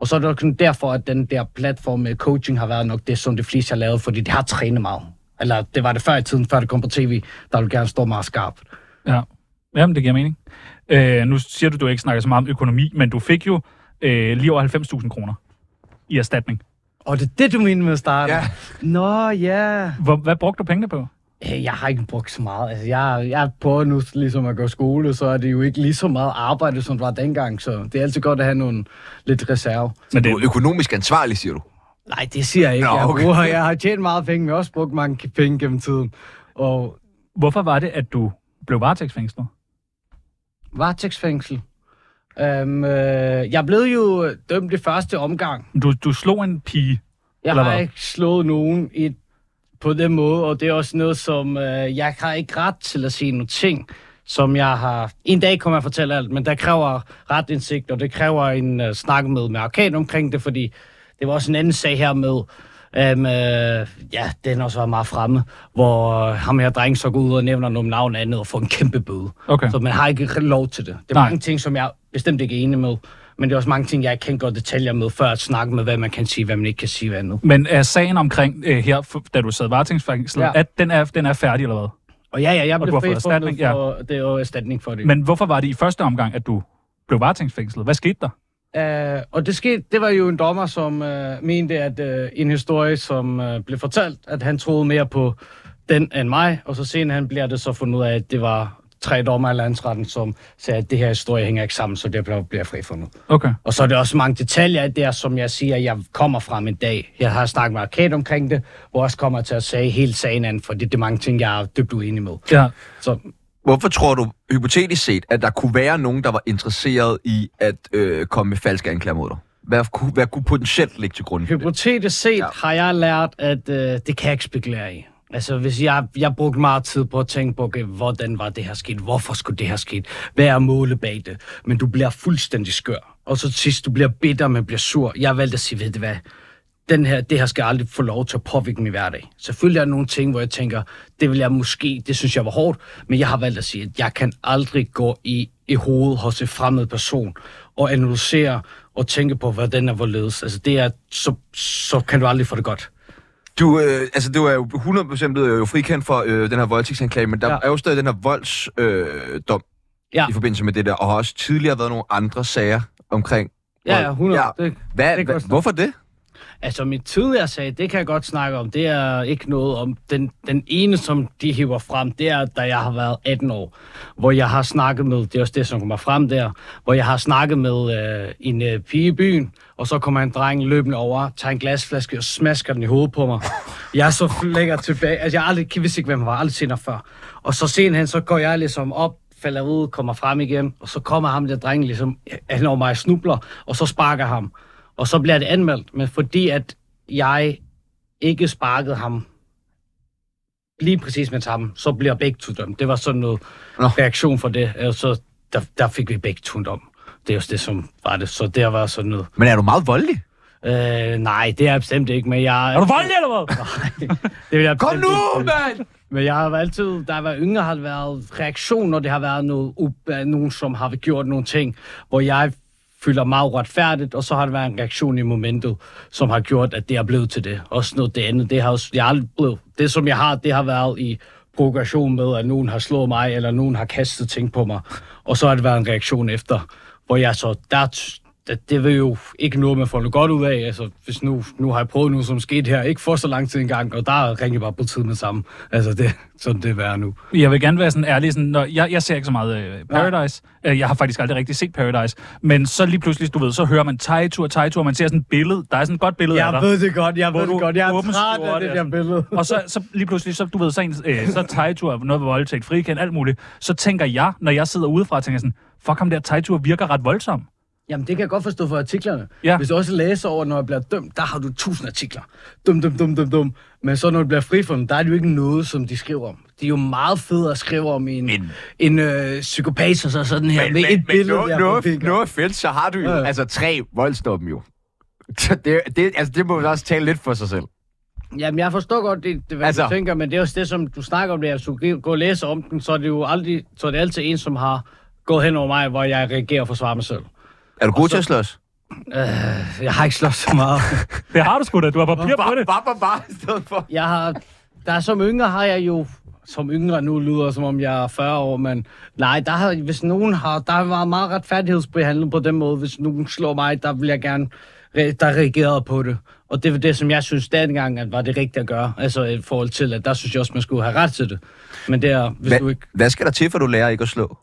Og så er det også sådan derfor, at den der platform med coaching har været nok det, som det fleste har lavet, fordi det har trænet meget. Eller det var det før i tiden, før det kom på tv, der ville gerne stå meget skarpt. Ja, Jamen, det giver mening. Øh, nu siger du, du ikke snakker så meget om økonomi, men du fik jo øh, lige over 90.000 kroner i erstatning. Og det er det, du mener med at starte? Ja. Nå, ja. Hvor, hvad brugte du pengene på? Øh, Jeg har ikke brugt så meget. Altså, jeg, jeg prøver nu ligesom at gå i skole, så er det jo ikke lige så meget arbejde, som det var dengang. Så det er altid godt at have nogle lidt reserve. Men Du det, er økonomisk ansvarlig, siger du. Nej, det siger jeg ikke. Nå, Nå, okay. okay. jeg, bruger, jeg har tjent meget penge, men jeg har også brugt mange k- penge gennem tiden. Og hvorfor var det, at du blev varetægtsfængslet? varetægtsfængsel. Øhm, øh, jeg blev jo dømt i første omgang. Du, du slog en pige. Jeg Eller har hvad? ikke slået nogen i, på den måde, og det er også noget, som øh, jeg har ikke ret til at sige nogle ting, som jeg har... En dag kommer jeg at fortælle alt, men der kræver retindsigt, og det kræver en øh, snak med med Arkan omkring det, fordi det var også en anden sag her med... Øhm, øh, ja, den også var meget fremme, hvor øh, ham her dreng så går ud og nævner nogle navn andet og får en kæmpe bøde. Okay. Så man har ikke lov til det. Det er Nej. Nej. mange ting, som jeg bestemt ikke er enig med, men det er også mange ting, jeg ikke kan gå i detaljer med, før at snakke med, hvad man kan sige, hvad man ikke kan sige, hvad andet. Men er sagen omkring øh, her, f- da du sad varetægtsfængslet, ja. Ja. at den er, den er færdig eller hvad? Og ja, ja, jeg Og blev du har fået frifundet erstatning, ja. for, det er jo erstatning for det. Men hvorfor var det i første omgang, at du blev varetægtsfængslet? Hvad skete der? Uh, og det skete, det var jo en dommer, som uh, mente, at uh, en historie, som uh, blev fortalt, at han troede mere på den end mig, og så senere han bliver det så fundet ud af, at det var tre dommer i landsretten, som sagde, at det her historie hænger ikke sammen, så det bliver, bliver frifundet. Okay. Og så er der også mange detaljer i det her, som jeg siger, jeg kommer fra en dag. Jeg har snakket med Arcade omkring det, hvor jeg også kommer til at sige hele sagen an, for det det er mange ting, jeg er dybt uenig med. Ja. Så Hvorfor tror du, hypotetisk set, at der kunne være nogen, der var interesseret i at øh, komme med falske anklager mod dig? Hvad kunne, hvad kunne potentielt ligge til grund? for det? Hypotetisk set ja. har jeg lært, at øh, det kan jeg ikke spekulere i. Altså, hvis jeg, jeg brugte meget tid på at tænke på, okay, hvordan var det her sket? Hvorfor skulle det her sket? Hvad er målet bag det? Men du bliver fuldstændig skør. Og så til sidst, du bliver bitter, men bliver sur. Jeg valgte at sige, ved du hvad? Den her, det her skal aldrig få lov til at påvirke min hverdag. Selvfølgelig er der nogle ting, hvor jeg tænker, det vil jeg måske, det synes jeg var hårdt, men jeg har valgt at sige, at jeg kan aldrig gå i, i hovedet hos en fremmed person og analysere og tænke på, hvordan er hvorledes. Altså det er, så, så kan du aldrig få det godt. Du, øh, altså, du er jo 100% blevet øh, frikendt for øh, den her voldtægtsanklage, men der ja. Ja. er jo stadig den her voldsdom øh, dom Ja. i forbindelse med det der, og har også tidligere været nogle andre sager omkring Ja, ja, vold. 100. Ja. Det, Hvad, kan hvad, godt stå. hvorfor det? altså mit tidligere sag, det kan jeg godt snakke om. Det er ikke noget om. Den, den ene, som de hiver frem, det er, da jeg har været 18 år, hvor jeg har snakket med, det er også det, som kommer frem der, hvor jeg har snakket med øh, en øh, pige i byen, og så kommer en dreng løbende over, tager en glasflaske og smasker den i hovedet på mig. Jeg er så lækker tilbage. Altså, jeg har aldrig, jeg vidste ikke, hvem han var, aldrig set ham før. Og så sen hen, så går jeg ligesom op, falder ud, kommer frem igen, og så kommer ham der dreng ligesom, han over mig og snubler, og så sparker ham. Og så bliver det anmeldt, men fordi at jeg ikke sparkede ham lige præcis med sammen, så bliver begge to dømt. Det var sådan noget Nå. Nå. reaktion for det. Øh, Så der, der fik vi begge to en dom. Det er jo det, som var det. Så der var sådan noget. Men er du meget voldelig? Øh, nej, det er jeg bestemt ikke, men jeg... Er du voldelig eller hvad? Nej, det vil jeg Kom bestemt nu, ikke. mand! Men jeg har altid, da jeg var yngre, har der været reaktion, når det har været noget, u- øh, nogen, som har gjort nogle ting, hvor jeg føler mig uretfærdigt, og så har der været en reaktion i momentet, som har gjort, at det er blevet til det. Også noget det andet, det har også, jeg er aldrig blevet. Det, som jeg har, det har været i progression med, at nogen har slået mig, eller nogen har kastet ting på mig. Og så har det været en reaktion efter, hvor jeg så, der, t- det, det vil jo ikke noget, man får noget godt ud af. Altså, hvis nu, nu har jeg prøvet noget, som skete her, ikke for så lang tid engang, og der ringer jeg bare på tid med sammen. Altså, det, sådan det er nu. [LAUGHS] Jeg vil gerne være sådan ærlig. Sådan, når jeg, jeg ser ikke så meget øh, Paradise. Øh, jeg har faktisk aldrig rigtig set Paradise. Men så lige pludselig, du ved, så hører man Tejtur, Tejtur. Man ser sådan et billede. Der er sådan et godt billede af dig. det godt, jeg Hvor du åben skjorte, altså. billede. Og så, så lige pludselig, så, du ved, så, en, øh, så Tejtur, noget med voldtægt, frikendt, alt muligt. Så tænker jeg, når jeg sidder udefra, tænker jeg sådan, fuck ham der Tejtur virker ret voldsom. Jamen, det kan jeg godt forstå for artiklerne. Ja. Ja. Hvis du også læser over, når jeg bliver dømt, der har du tusind artikler. Dum, dum, dum, dum, dum. Men så når du bliver frifundet, der er det jo ikke noget, som de skriver om. Det er jo meget fedt at skrive om en, Men- men, en øh, psykopat, som så sådan her, men, med et men billede. noget, der på noget, fingeren. noget fedt, så har du jo Ja. altså tre voldsdomme jo. Så det, det, altså, det må man også tale lidt for sig selv. Jamen, jeg forstår godt, det, det hvad Altså- altså... du tænker, men det er også det, som du snakker om, det er, hvis du gå og læse om den, så er det jo aldrig, så er det altid en, som har gået hen over mig, hvor jeg reagerer og forsvarer mig selv. Er du god til at slås? Jeg har ikke slået så meget. Det har du sgu da, du har papir på Bare, det. bare, bare, bare i stedet for. [LAUGHS] Jeg har... der som yngre har jeg jo... Som yngre nu lyder, som om jeg er 40 år, men nej, der har, hvis nogen har... Der var meget retfærdighedsbehandlet på den måde. Hvis nogen slår mig, der vil jeg gerne... re- Der reagerede på det. Og det var det, som jeg synes dengang, at var det rigtige at gøre. Altså i forhold til, at der synes jeg også, man skulle have ret til det. Men det er, hvis Hva, du ikke... hvad skal der til, for du lærer ikke at slå?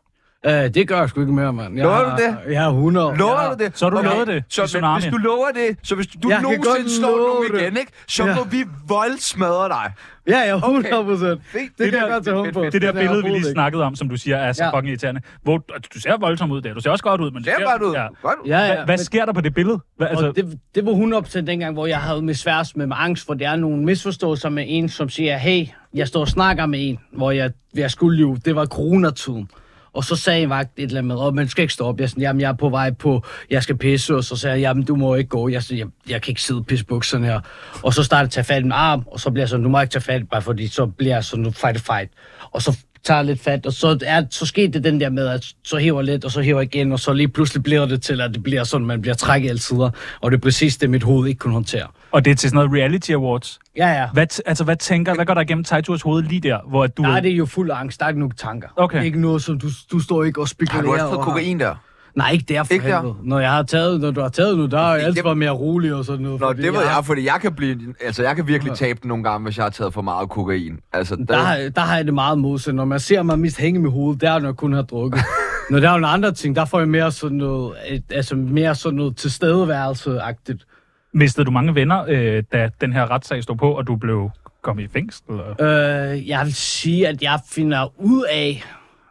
Øh, det gør jeg sgu ikke mere, mand. Jeg Lover har- du det? Jeg er 100. Lover jeg, du det? Så har du lovet det i Så, men, Tsunami. hvis du lover det, så hvis du Jeg kan godt nogensinde slår love nogen det. igen, ikke, så Ja. må vi voldsmadre dig. Ja, ja, 100 procent. Fint. Det, det, kan der- jeg godt tage home på. Det der er billede, vi lige overhovedet ikke. snakkede om, som du siger, er så Ja. fucking irriterende. Hvor, du ser voldsom ud der. Du ser også godt ud, men... du Det er bare du. Ja. Godt. Ja, ja. Hva, hvad sker der på det billede? Hva, altså, altså... og det, det var 100 procent dengang, hvor jeg havde med sværs med, med angst, for der er nogle misforståelser med en, som siger, hey, jeg står og snakker med en, hvor jeg, jeg skulle jo, det var coronatiden. Og så sagde en vagt et eller andet med, oh, man skal ikke stå op. Jeg, er sådan, jamen, jeg er på vej på, jeg skal pisse. Og så sagde jeg, jamen, du må ikke gå. Jeg, sådan, jeg, jeg kan ikke sidde og pisse bukserne her. Og så startede jeg at tage fat i min arm, og så bliver jeg sådan, du må ikke tage fat, bare fordi så bliver jeg sådan, fight fight. Og så tager lidt fat, og så, er, så skete det den der med, at så hiver lidt, og så hiver igen, og så lige pludselig bliver det til, at det bliver sådan, man bliver trækket alle sider, og det er præcis det, mit hoved ikke kunne håndtere. og det er til sådan noget reality awards. Ja, ja. Hvad, t- altså, hvad tænker, hvad går der igennem Taiturs hoved lige der, hvor at du... Der er det jo fuld angst, der er ikke nogen tanker. Okay. Det er ikke noget, som du, du står ikke og spekulerer Har du også fået over. kokain der? Nej, ikke der for Ikke ikke der? helvede. Når jeg har taget, når du har taget nu, der er jeg Det- altid været mere rolig og sådan noget. Nå, fordi det ved jeg har- jeg, fordi jeg kan, blive, altså, jeg kan virkelig tabe den nogle gange, hvis jeg har taget for meget kokain. Altså, der, Der, har- der har jeg det meget modsat. Når man ser mig mest hænge med hovedet, der er det, når jeg kun har [LAUGHS] drukket. når der er nogle andre ting, der får jeg mere sådan noget, et, altså mere sådan noget tilstedeværelse-agtigt. Mistede du mange venner, øh, da den her retssag stod på, og du blev kommet i fængsel? Eller? Øh, jeg vil sige, at jeg finder ud af,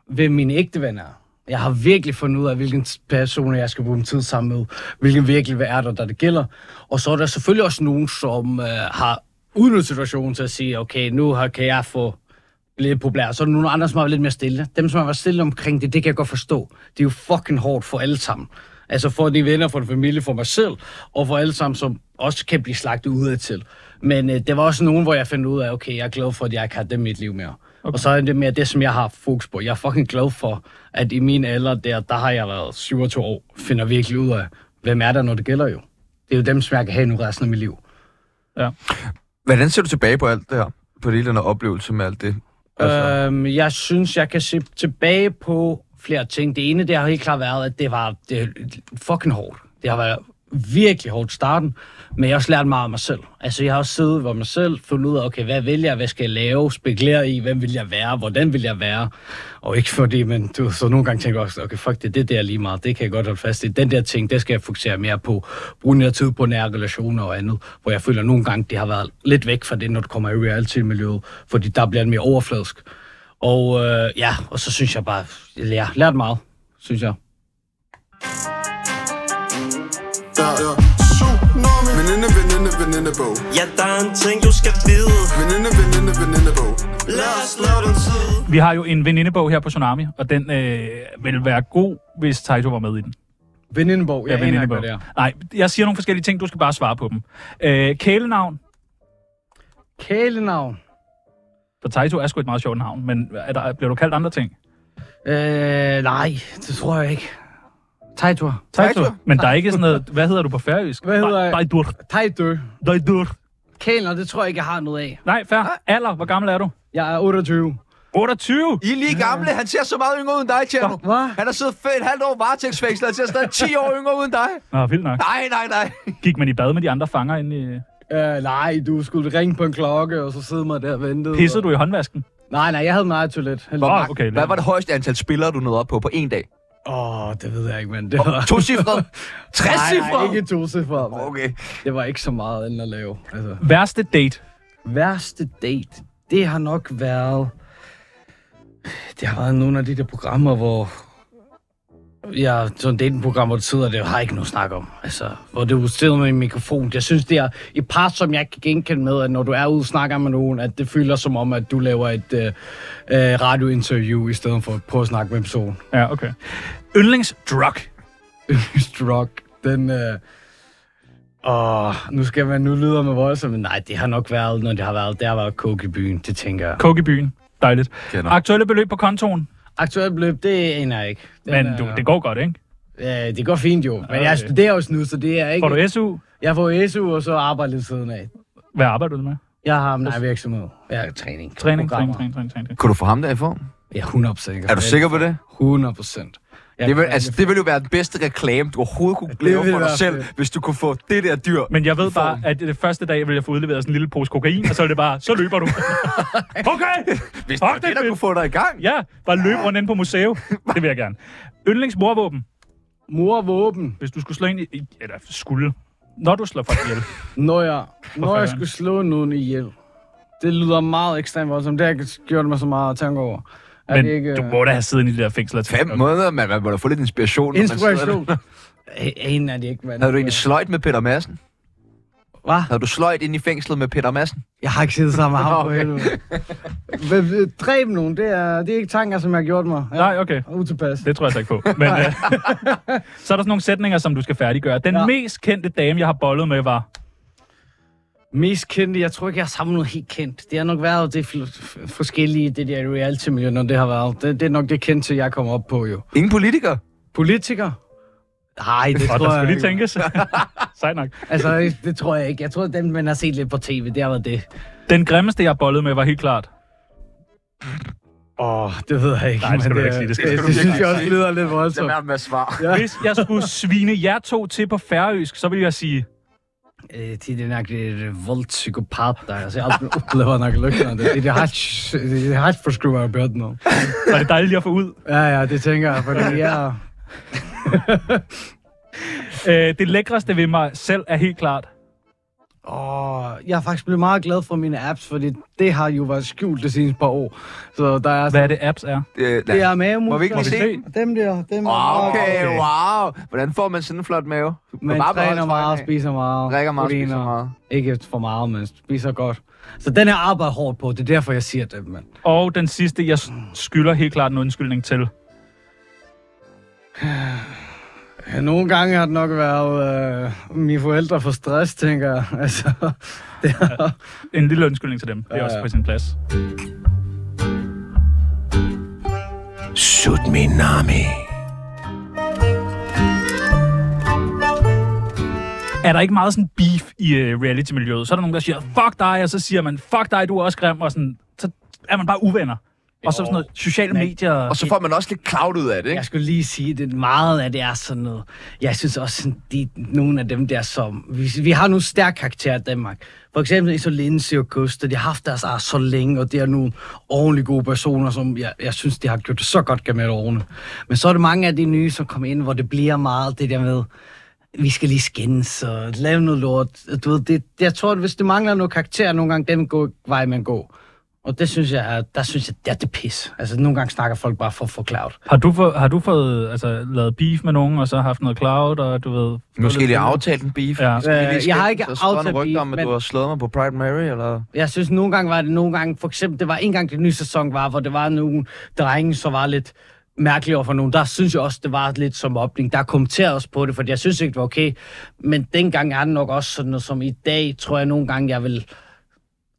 hvem mine ægte venner er. Jeg har virkelig fundet ud af, hvilken person jeg skal bruge min tid sammen med, hvilken virkelig er der, der det gælder. Og så er der selvfølgelig også nogen, som øh, har udnyttet situationen til at sige, okay, nu har, kan jeg få lidt populær. Så er der nogle andre, som har været lidt mere stille. Dem, som har været stille omkring det, det kan jeg godt forstå. Det er jo fucking hårdt for alle sammen. Altså for de venner, for en familie, for mig selv, og for alle sammen, som også kan blive slagtet udad til. Men øh, det var også nogen, hvor jeg fandt ud af, okay, jeg er glad for, at jeg ikke har dem i mit liv mere. Okay. Og så er det mere det, som jeg har fokus på. Jeg er fucking glad for, at i min alder der, der har jeg været 27 år, finder virkelig ud af, hvem er der, når det gælder jo. Det er jo dem, som jeg kan have nu resten af mit liv. Hvordan ser du tilbage på alt det her? På hele den her oplevelse med alt det? Altså, Øhm, jeg synes, jeg kan se tilbage på flere ting. Det ene, det har helt klart været, at det var det er fucking hårdt. Det har været virkelig hårdt i starten, men jeg har også lært meget om mig selv. Altså, jeg har også siddet ved mig selv, fundet ud af, okay, hvad vil jeg, hvad skal jeg lave, spekulere i, hvem vil jeg være, hvordan vil jeg være, og ikke fordi, men du, så nogle gange tænker jeg også, okay, fuck det, det der er lige meget, det kan jeg godt holde fast i, den der ting, det skal jeg fokusere mere på, bruge mere tid på nære relationer og andet, hvor jeg føler nogle gange, det har været lidt væk fra det, når det kommer i reality-miljøet, fordi der bliver det mere overfladisk. Og øh, ja, og så synes jeg bare, jeg lærer, lært meget, synes jeg. Der er tsunami. Veninde, veninde, venindebog. Ja, der er en ting, du skal vide Veninde, veninde, venindebog. Lad os lave den tid Vi har jo en venindebog her på Tsunami, og den øh, vil være god, hvis Taito var med i den. Venindebog, jeg ja, aner ikke, venindebog. hvad det er. Nej, jeg siger nogle forskellige ting, du skal bare svare på dem. Øh, kælenavn, Kælenavn. for Taito er sgu et meget sjovt navn, men er der, bliver du kaldt andre ting? Øh, nej, det tror jeg ikke. Tejtur. Taito? Men der er ikke sådan noget, hvad hedder du på færøsk? Hvad hedder jeg? Dejdur. Tejtø. Dejdur. Kælener, det tror jeg ikke, jeg har noget af. Nej, fair. Alder, hvor gammel er du? Jeg er 28. 28! I er lige gamle. Han ser så meget yngre ud end dig, Tjerno. Hvad? Han har siddet fe- et halvt år varetægtsfængslet. Han ser stadig 10 år yngre ud end dig. Nå, vildt nok. Nej, nej, nej. Gik man i bad med de andre fanger ind i... Øh, nej, du skulle ringe på en klokke, og så sidde mig der og vente. Pissede du i håndvasken? Nej, nej, jeg havde meget toilet. Åh, Hvor- Ah, okay, Hvad lad- var det højeste antal spillere, du nåede op på på en dag? oh, det ved jeg ikke, men det var... [LAUGHS] To cifre? Tre Nej, cifre? nej, ikke to cifre. Okay. Okay. Det var ikke så meget andet at lave. Altså. Værste date? værste date, det har nok været... Det har været nogle af de der programmer, hvor... Ja, sådan datingprogram, hvor det sidder, det har jeg ikke noget snak om. Altså, hvor du sidder med en mikrofon. Jeg synes, det er et par, som jeg kan genkende med, at når du er ude og snakker med nogen, at det føler som om, at du laver et øh, øh, radiointerview, i stedet for at prøve at snakke med en person. [LAUGHS] Ja, okay. Yndlingsdrug? Struck, den... Øh, og nu skal man nu lyder med voldsomt, men nej, det har nok været, når det har været, der var coke i byen, det tænker jeg. Coke i byen. Dejligt. Kender. Aktuelle beløb på kontoen? Aktuelt beløb, det aner jeg ikke. Men du, det går godt, ikke? Øh, det går fint jo, men okay. Okay. jeg studerer også nu, så det er ikke... Får du SU? Jeg får SU, og så arbejder lidt siden af. Hvad arbejder du med? Jeg har med virksomhed. Jeg er Træning, træning. træning, programmer. træning, træning, træning. Kunne du få ham der i form? Jeg er 100 sikker. Er du sikker på det? 100 procent. Det vil, altså, det ville jo være den bedste reklame, du overhovedet kunne lave ville for dig være selv, fedt. hvis du kunne få det der dyr. Men jeg ved bare, at det første dag vil jeg få udleveret sådan en lille pose kokain, og så er det bare, så løber du. Okay! Hvis det Fuck, var det er det, der fedt. kunne få dig i gang. Ja, bare løb rundt ind på museet. Det vil jeg gerne. Yndlingsmorvåben, Morvåben. hvis du skulle slå ind i... i- Eller skulle. Når du slår folk ihjel. Når jeg, når fanden. jeg skulle slå nogen ihjel. Det lyder meget ekstremt voldsomt. Det har jeg gjort mig så meget tanke over. Er Men det ikke, du øh, må da have siddet i de der fængsler. til- Fem måneder, man, man må da få lidt inspiration. når man sidder [LAUGHS] Inspiration. der. En er det ikke, mand. Havde du egentlig sløjt med Peter Madsen? Hvad? Havde du sløjt ind i fængslet med Peter Madsen? Jeg har ikke siddet [LAUGHS] sammen med ham på helvede. Hvad- Dræb nogen, det er, det er ikke tanker, som jeg har gjort mig. Jeg Nej, okay. er Utilpas. Det tror jeg så ikke på. Men, øh, [LAUGHS] så er der sådan nogle sætninger, som du skal færdiggøre. Den ja. Ja. mest kendte dame, jeg har bollet med, var... Mest kendte, jeg tror ikke, jeg har samlet noget helt kendt. Det har nok været det fl- forskellige, det der reality-miljø, når det har været. Det, det er nok det kendte, jeg kommer op på jo. Ingen politiker? Politiker? Nej, det Og tror der skal jeg lige ikke. [LAUGHS] tænkes. Sejt nok. Altså, det tror jeg ikke. Jeg tror, dem, man har set lidt på tv, det har været det. Den grimmeste, jeg har bollet med, var helt klart. Åh, oh, det ved jeg ikke. Nej, det skal men du ikke sige. Det skal- det, skal du det synes virkelig jeg også ikke lyder lidt voldsomt. med at svare. Hvis jeg skulle svine jer to til på færøsk, så ville jeg sige... Øh, de er nok lidt voldspsykopat der. Altså, jeg har aldrig oplevet nok lykkende. Det det er hatch, det er hatch for skruer og bøden nu. Var det dejligt lige at få ud? Ja, ja, det tænker jeg, fordi jeg er... Øh, det lækreste ved mig selv er helt klart... Åh, jeg er faktisk blevet meget glad for mine apps, fordi det har jo været skjult de seneste par år. Så der er... Hvad er det, apps er? Det, Det er mavemuskler. Må vi ikke lige se? se? den? Dem der, dem Åh, Okay, der. wow. Hvordan får man sådan en flot mave? Man Bare beholde træner meget, træning. spiser meget. Drikker meget, proteiner. spiser meget. Ikke for meget, men spiser godt. Så den her arbejder hårdt på. Det er derfor, jeg siger det, mand. Og den sidste, jeg s- skylder helt klart en undskyldning til. Nogle gange har det nok været øh, mine forældre for stress, tænker jeg. [LAUGHS] Altså, det er... En lille undskyldning til dem. Det er Ja, også ja. på sin plads. Sut min nami. Er der ikke meget sådan beef i uh, reality-miljøet? Så er der nogen, der siger, fuck dig, og så siger man, fuck dig, du er også grim, og sådan, så er man bare uvenner. Og så sådan noget sociale medier. Og så får man også lidt cloud ud af det, Jeg ikke? skulle lige sige, at meget af det er sådan noget. Jeg synes også, sådan, de, nogle af dem der, som... Vi, vi har nogle stærke karakterer i Danmark. For eksempel Isolinse og Gusta, de har haft deres ar så længe, og det er nogle ordentlig gode personer, som jeg, jeg synes, de har gjort det så godt gennem alle årene. Men så er det mange af de nye, som kommer ind, hvor det bliver meget det der med, vi skal lige skændes og lave noget lort. Du ved, det, jeg tror, at hvis det mangler noget karakter, nogle gange den går, vej, man går. Og det synes jeg, er- der synes jeg, det er det pis. Altså, nogle gange snakker folk bare for at få cloud. Har du, få, har du fået altså, lavet beef med nogen, og så haft noget cloud, og du ved... Måske fået lige lidt- aftalt en beef. Ja. Skal vi lige Øh, jeg skændes, har ikke og så står der nogle aftalt rygter beef, om, at men- du har slået mig på Pride Mary, eller... Jeg synes, nogle gange var det nogle gange, for eksempel, det var en gang, det nye sæson var, hvor det var nogle drenge, som var lidt mærkelige over for nogen. Der synes jeg også, det var lidt som opning. Der kommenterede også på det, for jeg synes ikke, det var okay. Men dengang er det nok også sådan noget, som i dag, tror jeg nogle gange, jeg vil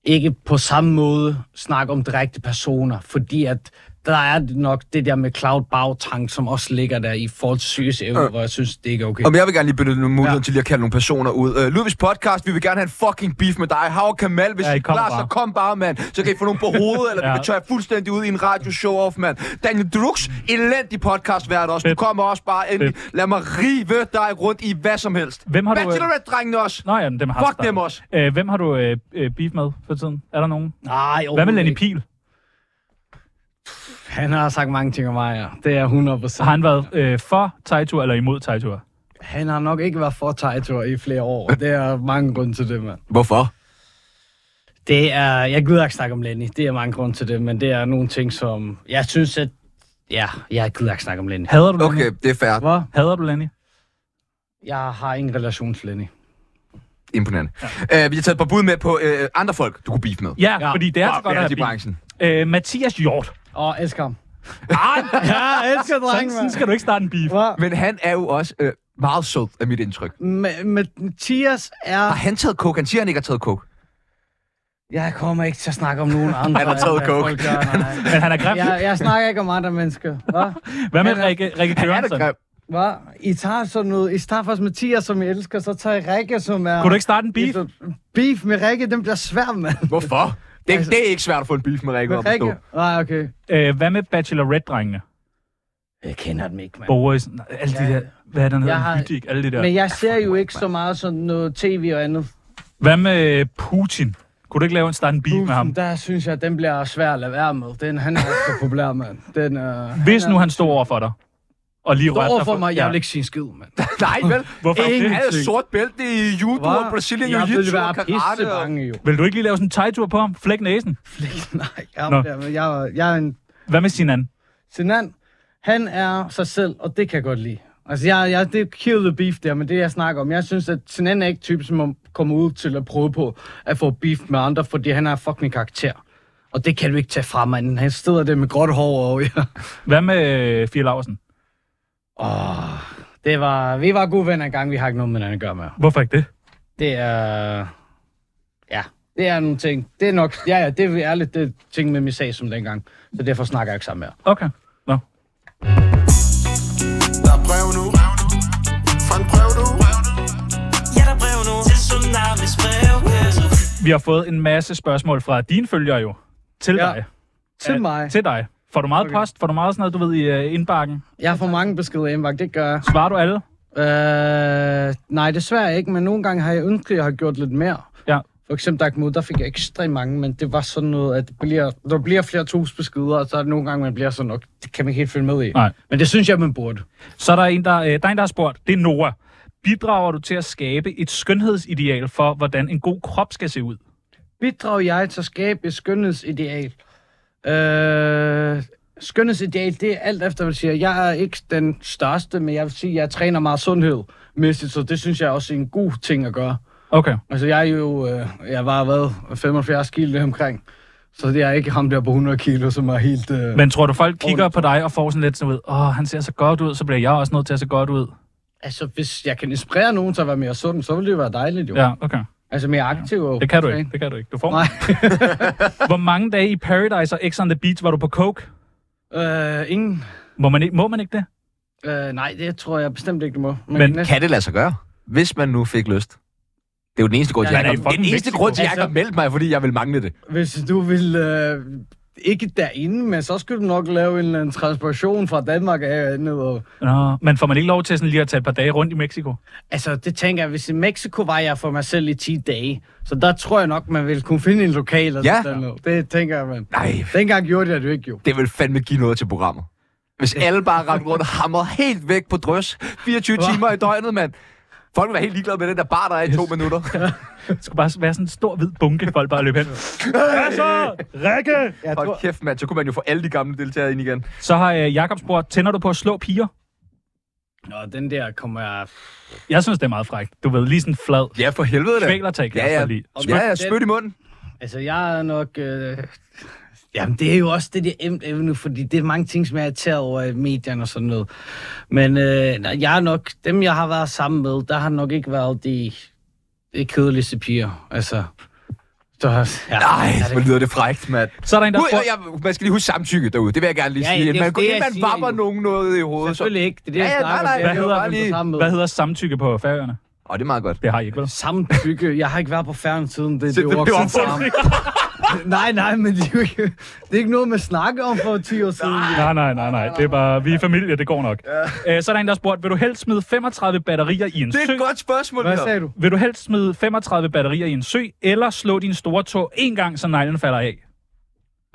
ikke på samme måde snakke om direkte personer, fordi at der er nok det der med cloud bagtank, som også ligger der i forhold til psykisk evne, Øh. hvor jeg synes, det ikke er okay. Om jeg vil gerne lige benytte nogle muligheden ja. til lige at kalde nogle personer ud. Uh, Ludvigs podcast, vi vil gerne have en fucking beef med dig. Hav Kamal, hvis Ja, ja, I I kommer klar, bare. så kom bare, mand. Så kan I få nogle på [LAUGHS] hovedet, eller ja. Ja. vi kan tørre fuldstændig ud i en radio show-off, mand. Daniel Drucks, elendig podcast hvert også. Du Fedt. kommer også bare endelig. Lad mig rive dig rundt i hvad som helst. Hvem har du, øh, Bachelorette-drengene også. Nå ja, men dem har Fuck startet. dem også. Øh, hvem har du øh, øh, beef med for tiden? Er der nogen? Nej, Hvad med overhovedet Lenny ikke. Pil? Han har sagt mange ting om mig, ja. Det er 100 Har han været øh, for Taitur eller imod Taitur? Han har nok ikke været for Taito i flere år. Det er mange grunde til det, mand. Hvorfor? Det er... Jeg gider ikke snakke om Lenny. Det er mange grunde til det, men det er nogle ting, som... Jeg synes, at... Ja, jeg gider ikke snakke om Lenny. Hader du Lenny? Okay, det er fair. Hvor? Hader du Lenny? Jeg har ingen relation til Lenny. Imponerende. Ja. Uh, vi har taget et par bud med på uh, andre folk, du kunne beef med. Ja, ja, fordi det er så godt Ja, i at have beef. branchen. Øh, Mathias Hjort. [LAUGHS] Åh, elsker ham. Ej, jeg elsker Sådan, drengen, sådan mand. skal du ikke starte en beef. Hvor? Men han er jo også uh, meget sød, af mit indtryk. Ma- Mathias er... Har han taget coke? Han siger, han ikke har taget coke. Jeg kommer ikke til at snakke om nogen andre. Han har taget end hvad coke. folk gør, nej. Men han er grim. Jeg, jeg snakker ikke om andre mennesker. Hva? Hvad med han er- Rikke, Rikke Han er da Jørgensen? grim. Hvad? I tager sådan noget. I tager først Mathias, som jeg elsker, så tager I Rikke, som er... Kunne du ikke starte en beef? Beef med Rikke, den bliver svær, mand. Hvorfor? Det, Altså- det er ikke svært at få en beef med Rikke om Med at forstå. Rikke? Nej, okay. Øh, hvad med Bachelorette-drengene? Jeg kender dem ikke, mand. Boris, nej, alle de Ja. der... Hvad er den hedder? Jeg har- Hydik, alle de der. Men jeg ser jo ikke så meget sådan noget tv og andet. Hvad med øh, Putin? Kunne du ikke lave en starte en beef med ham? Putin, der synes jeg, den bliver svær at lade være med. Den, han er så populær, mand. Den, øh, Hvis han nu han stod over for dig, og lige rørte Står dig for mig, jeg vil ikke sige en skid, mand. Nej, vel? [LAUGHS] Hvorfor? Ingen Ingenting. havde sort bælte i judo og Brasilien og jeg ville jitsu være og karate. Og... pissebange, jo. [LAUGHS] Vil du ikke lige lave sådan en tegtur på ham? Flæk næsen. Nej, Nå. jeg, jeg, jeg, jeg er en... Hvad med Sinan? Sinan, han er sig selv, og det kan jeg godt lide. Altså, jeg, jeg, det er kill the beef der, men det jeg snakker om. Jeg synes, at Sinan er ikke typen, som kommer ud til at prøve på at få beef med andre, fordi han er fucking karakter. Og det kan du ikke tage fra manden. Han steder det med godt hår og ja. Hvad med øh, Fie Laursen? Åh, det var, vi var gode venner engang, vi har ikke noget med hinanden at gøre med. Hvorfor ikke det? Det er... Ja, det er nogle ting. Det er nok... Ja, ja, det er ærligt, det er ting med min sag som dengang. Så derfor snakker jeg ikke sammen mere. Okay. Nå. Der er brev nu Fra en brev nu Ja, der er brev nu til Tsunamis brevkasse. Vi har fået en masse spørgsmål fra dine følgere jo. Til Ja. dig. Til Øh, mig. Til dig. Får du meget okay. post? Får du meget sådan noget, du ved, i øh, indbakken? Jeg får mange beskeder indbagt, det gør jeg. Svarer du alle? Øh, nej, desværre ikke, men nogle gange har jeg ønsket, at jeg har gjort lidt mere. Ja. For eksempel Dagmod, der fik jeg ekstremt mange, men det var sådan noget, at det bliver, der bliver flere tos beskeder, og så er det nogle gange, man bliver sådan, nok, det kan man ikke helt følge med i. Nej. Men det synes jeg, man burde. Så er der en, der, øh, der, er en, der har spurgt. Det er Nora. Bidrager du til at skabe et skønhedsideal for, hvordan en god krop skal se ud? bidrager jeg til at skabe et skønhedsideal? Øh, skønhedsideal, det er alt efter, hvad jeg siger. Jeg er ikke den største, men jeg vil sige, at jeg træner meget sundhed. Mæssigt, så det synes jeg også er en god ting at gøre. Okay. Altså, jeg er jo, øh, jeg var hvad, 75 kilo omkring. Så det er ikke ham der på 100 kilo, som er helt... Øh... Men tror du, folk kigger på dig og får sådan lidt sådan ud, åh, han ser så godt ud, så bliver jeg også nødt til at se godt ud? Altså, hvis jeg kan inspirere nogen til at være mere sund, så ville det jo være dejligt, jo. Ja. Ja, okay. Altså, mere aktiv. og- Det kan du ikke. Det kan du ikke. Du får Nej. [LAUGHS] Hvor mange dage i Paradise og X on the Beach var du på coke? øh, ingen. Må man, ikke, må man ikke det? Øh, nej, det tror jeg bestemt ikke, du må. Men næste- Kan det lade sig gøre, hvis man nu fik lyst? Det er jo den eneste grund til, Ja, at jeg det er ikke i har- den fucking eneste Mexico. grund til, at jeg ikke har Altså- meldt mig, fordi jeg vil mangle det. Hvis du vil... Øh, ikke derinde, men så skulle du nok lave en eller anden transportation fra Danmark af ned og... Nå, men får man ikke lov til sådan lige at tage et par dage rundt i Mexico? Altså, det tænker jeg, hvis i Mexico var jeg for mig selv i 10 dage, så der tror jeg nok, man ville kunne finde en lokal eller Ja. sådan noget. Det tænker jeg, man. Nej, Dengang gjorde jeg det jo ikke, jo. det vil fandme give noget til programmet. Hvis alle bare ramte rundt og hamrede helt væk på drøs, 24 timer i døgnet, mand. Folk vil være helt ligeglade med den der bar, der er i to minutter. Det skulle bare være sådan en stor hvid bunke, folk bare løb hen. Hvad så? Rikke! Jeg Hold kæft, mand. Så kunne man jo få alle de gamle deltagere ind igen. Så har øh, Jakob spurgt, tænder du på at slå piger? Nå, den der kommer jeg... Jeg synes, det er meget frækt. Du ved, lige sådan flad. Ja, for helvede da. Kvælertag kan Ja, jeg også ja. godt lide. Ja, ja, spyt i munden. Altså, jeg er nok... Øh... Jamen, det er jo også det, det er emt emne, fordi det er mange ting, som jeg er irriteret over i medierne og sådan noget. Men øh, nej, jeg er nok... Dem, jeg har været sammen med, der har nok ikke været de, de kedeligste piger. Altså... Så, ja, Nej, ja, hvor lyder det frækt, mand. Så er der en, der Nu, har spurgt, jeg, man skal lige huske samtykke derude. Det vil jeg gerne lige Ja, sige. ja, det er man, jo det, inden jeg man siger vapper jo. nogen noget i hovedet, så... Selvfølgelig ikke. Det er det, Ja, jeg ja, snakker nej, nej, om. Det er hvad jo, hedder- hvem du lige- er sammen med. hvad hedder samtykke på færøerne? Åh, det er meget godt. Det har I ikke, vel? Samtykke. Jeg har ikke været på færden siden [LAUGHS] det, Så det, det det blev var opfundet. sammen. [LAUGHS] nej, nej, men det er, jo ikke, det er ikke noget, man snakker om for 10 år siden. Nej, nej, nej, nej. Det er bare, vi er familie, det går nok. Ja. Så er der en, der har spurgt, vil du helst smide 35 batterier i en Det er sø? et godt spørgsmål, Hvad det her. sagde du? Vil du helst smide 35 batterier i en sø, eller slå din store tog en gang, så neglen falder af?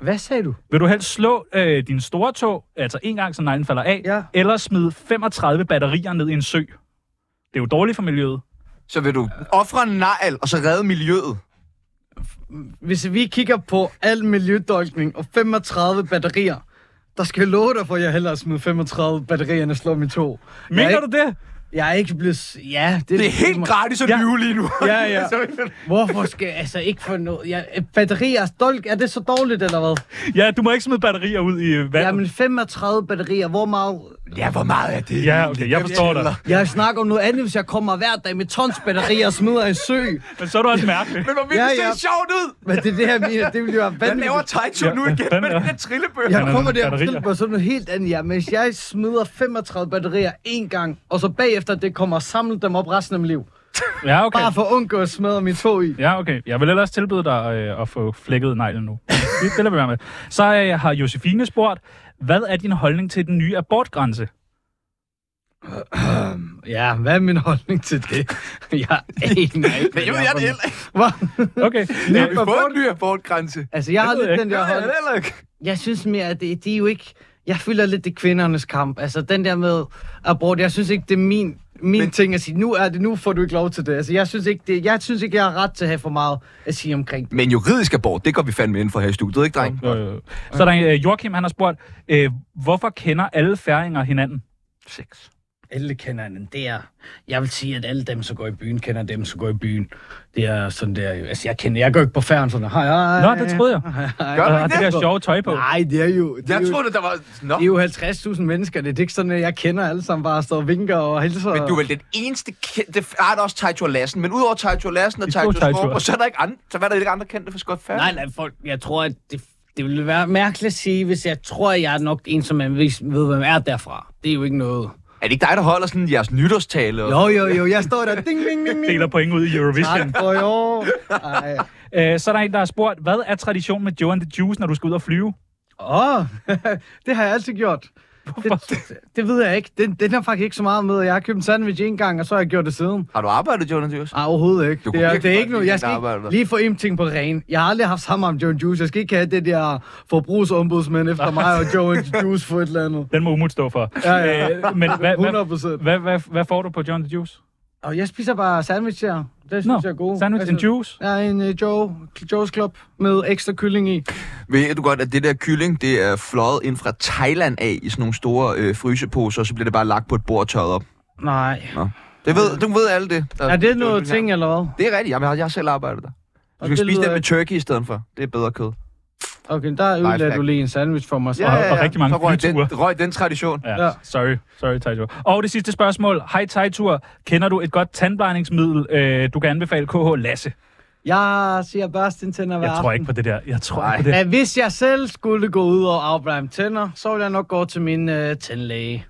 Hvad sagde du? Vil du helst slå øh, din store tog, altså en gang, så neglen falder af, Ja. eller smide 35 batterier ned i en sø? Det er jo dårligt for miljøet. Så vil du ofre en negl, og så redde miljøet. hvis vi kigger på al miljødolkning og 35 batterier, der skal jeg love dig for, at jeg hellere smider 35 batterier, end at slå min to. jeg Mener er ja, du ikke, det? Jeg er ikke blevet... s- Ja, det, Det er helt gratis at Ja. lyve lige nu. Ja, ja. [LAUGHS] Så- Hvorfor skal jeg altså ikke få noget? Ja, batterier, dolk, er det så dårligt, eller hvad? Ja, du må ikke smide batterier ud i øh, vandet. Jamen, 35 batterier, hvor meget... Ja, hvor meget er det? Ja, okay, jeg forstår dig. Jeg snakker om noget andet, hvis jeg kommer hver dag med tons batteri og smider i sø. Men så er du også mærkelig. Men hvor vildt, Ja, det ja. ser sjovt ud! Men det er det, jeg mener. Det ville jo være Jeg vanvittigt. laver Taito nu Ja, igen den med er- den der trillebør. Ja. Jeg kommer nogle der batterier. og fortæller mig sådan noget helt andet, ja. Mens jeg smider 35 batterier én gang, og så bagefter det kommer at samle dem op resten af mit liv. Ja, okay. Bare for at undgå at smadre mit tog i. Ja, okay. Jeg vil ellers tilbyde dig øh, at få flækket neglen nu. Det, det lader vi være med. Så øh, har Josefine spurgt, hvad er din holdning til den nye abortgrænse? Øhm, Ja, hvad er min holdning til det? [LAUGHS] Jeg aner ikke. Det ved jeg det heller ikke. heller [LAUGHS] Okay. Har Øh, vi fået en ny abortgrænse? Altså, jeg har Det ved jeg lidt den Det der har holdning. jeg heller ikke. jeg synes mere, at det, det er jo ikke... Jeg føler lidt, det er kvindernes kamp. Altså, den der med abort, jeg synes ikke, det er min, min Men... ting at sige, nu er det, nu får du ikke lov til det. Altså, jeg synes ikke, det, jeg synes ikke, jeg har ret til at have for meget at sige omkring det. Men juridisk abort, det går vi fandme ind for her i studiet, ikke, dreng? Jo, jo, jo. Så er der en, øh, Joachim, han har spurgt, øh, hvorfor kender alle færinger hinanden? Sex. Alle kender den der. Jeg vil sige, at alle dem, som går i byen, kender dem, som går i byen. Det er sådan der... jo. Altså, jeg kender... Jeg går ikke på færden sådan... Hej, hej, Nå, det [LAUGHS] Øh, troede jeg. Gør Og du har det ikke der det? sjove tøj på. Nej, det er jo... Det er Jeg jo, troede, der var... Nå. det er jo 50.000 mennesker, det er ikke sådan, at jeg kender alle sammen bare står og vinker og hilser. Men du er vel den eneste kendte... Det er der også Taito Lassen, men udover Taito Lassen og De to Taito Teitur. Skorp, og så er der ikke andre, så er der ikke andre kendte for Scott Færd. Nej, nej, folk, jeg tror, at det, det ville være mærkeligt at sige, hvis jeg tror, at jeg er nok en, som man ved, ved, hvem er derfra. Det er jo ikke noget. Er det ikke dig, der holder sådan jeres nytårstale? Og... Jo, jo, jo, jeg står der, ding, ding, ding, ding. Deler point ud i Tak Eurovision. for i år. Ej. Øh, så er der en, der har spurgt, hvad er tradition med Joe and the Juice, når du skal ud og flyve? Åh, [LAUGHS] oh, det har jeg altid gjort. Det, det, det ved jeg ikke. Den, den har faktisk ikke så meget med. Jeg har købt en sandwich en gang, og så har jeg gjort det siden. Har du arbejdet, Jonas Jørgensen? Ah, overhovedet ikke. Du Det kunne er, virkelig det er godt ikke noget. lide Jeg dit skal arbejde, ikke hva'? lige få en ting på ren. Jeg har aldrig haft sammen om Joe Juice. Jeg skal ikke have det der forbrugsombudsmand efter mig og [LAUGHS] Joe and Juice for et eller andet. Den må Umut stå for. Ja, ja. Øh, men hvad, hvad, 100%. hvad, hvad, hvad får du på John the Juice? Og jeg spiser bare sandwich her. Det synes Nå, jeg er god. Altså, sandwich and juice. Jeg er en uh, Joe, Joe's Club med ekstra kylling i. Ved du godt, at det der kylling, det er fløjet ind fra Thailand af i sådan nogle store øh, fryseposer, og så bliver det bare lagt på et bord og tørret op. Nej. Det ved, du ved alle det. Der, Er det noget ting, eller hvad? Det er rigtigt. Jamen, jeg har, jeg har selv arbejdet der. Du Og skal det spise det lyder med ikke- turkey i stedet for. Det er bedre kød. Okay, der ødelagde Lifehack. du lige en sandwich for mig. Så. ja, ja. og rigtig mange så røg den, flyture. røg den tradition. Ja, Ja. sorry, sorry Tejtur. Og det sidste spørgsmål. Hej Tejtur, kender du et godt tandblejningsmiddel, øh, du kan anbefale KH Lasse? Jeg siger børsten tænder hver Jeg tror aften. ikke på det der. Jeg tror Nej. ikke på det. At hvis jeg selv skulle gå ud og afblande tænder, så ville jeg nok gå til min øh, tandlæge.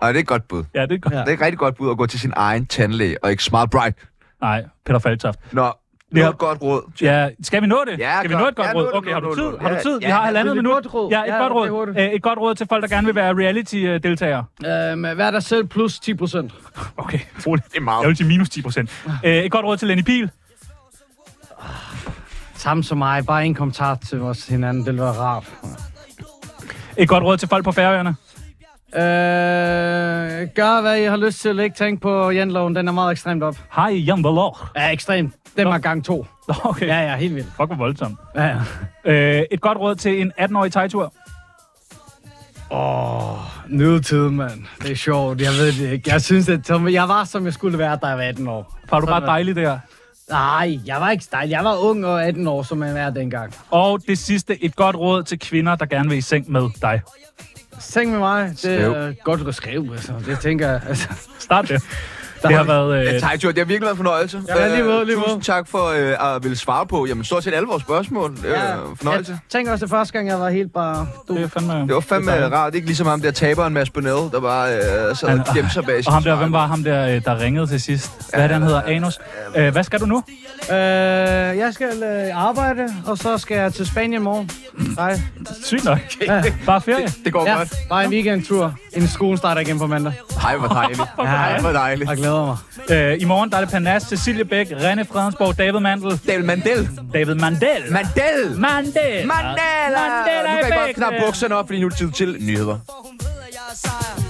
Og det er et godt bud. Ja, det er godt. Ja. Det er et rigtig godt bud at gå til sin egen tandlæge, og ikke smart bright. Nej, Peter Faltoft. Nå, det Ja. er et godt råd. Ja, skal vi nå det? Ja, skal vi godt. nå et godt Ja, råd? nå det, Okay, nå har du det, nå tid? det. Har du Ja, tid? Vi ja, har ja. halvandet Et minut. godt råd. Ja, et Ja, godt det er råd. hurtigt. Øh, Et godt råd til folk, der gerne vil være reality-deltagere. Øh, men hvad er der selv plus 10 procent? Okay, roligt. Det er meget. Jeg vil til minus 10 procent. Øh, Et godt råd til Lenny Pihl. Samme som mig, bare en kommentar til vores hinanden, det ville være rart. Et godt råd til folk på færøerne. Øh, gør hvad I har lyst til, ikke tænk på janloven, den er meget ekstremt op. Hej, Jan Valor. Ja, ekstremt. Den var gang to. Okay, Ja, ja, helt vildt. fuck hvor voldsomt. Ja, ja. Øh, Et godt råd til en 18-årig Tejtur. Nødtid, mand. Det er sjovt, jeg ved det ikke. Jeg synes, at som- jeg var, som jeg skulle være, da jeg var 18 år. Var du bare dejlig der? Nej, jeg var ikke dejlig. Jeg var ung og 18 år, som man er dengang. Og det sidste, et godt råd til kvinder, der gerne vil i seng med dig. Tænk med mig, det Skrev. er øh, godt at skrive, altså. Det tænker jeg, altså. Start det. Det har været... Ja, Øh, tak, Tjort. Det har virkelig været en fornøjelse. Ja, lige måde, Øh, lige måde. Tusind tak for øh, at ville svare på jamen, stort set alle vores spørgsmål. Ja. Øh, fornøjelse. Jeg tænker også, det er første gang, jeg var helt bare... Du. det er fandme... Det var fandme dejligt. rart. Ikke ligesom ham der taberen Mads Bonnell, der var øh, sad og gemte sig bag sin Og ham der, hvem smartphone. var ham der, øh, der ringede til sidst? Hvad er det, han hedder? Anus? Øh, hvad skal du nu? Øh, jeg skal øh, arbejde, og så skal jeg til Spanien i morgen. Hej. Sygt nok. Ja, bare ferie. Det går Ja, godt. bare en weekendtur. En skole starter igen på mandag. Hej, hvor [LAUGHS] dejligt. Hej, hvor dejligt. Jeg glæder mig. Øh, I morgen, der er det Panas, Cecilie Bæk, René Fredensborg, David Mandel. Del Mandel. David Mandel. Mandel. Mandel. Mandela! Mandela Nu kan jeg godt effekten. knappe bukserne op, fordi nu er det tid til nyheder. For hun ved, at jeg er sejr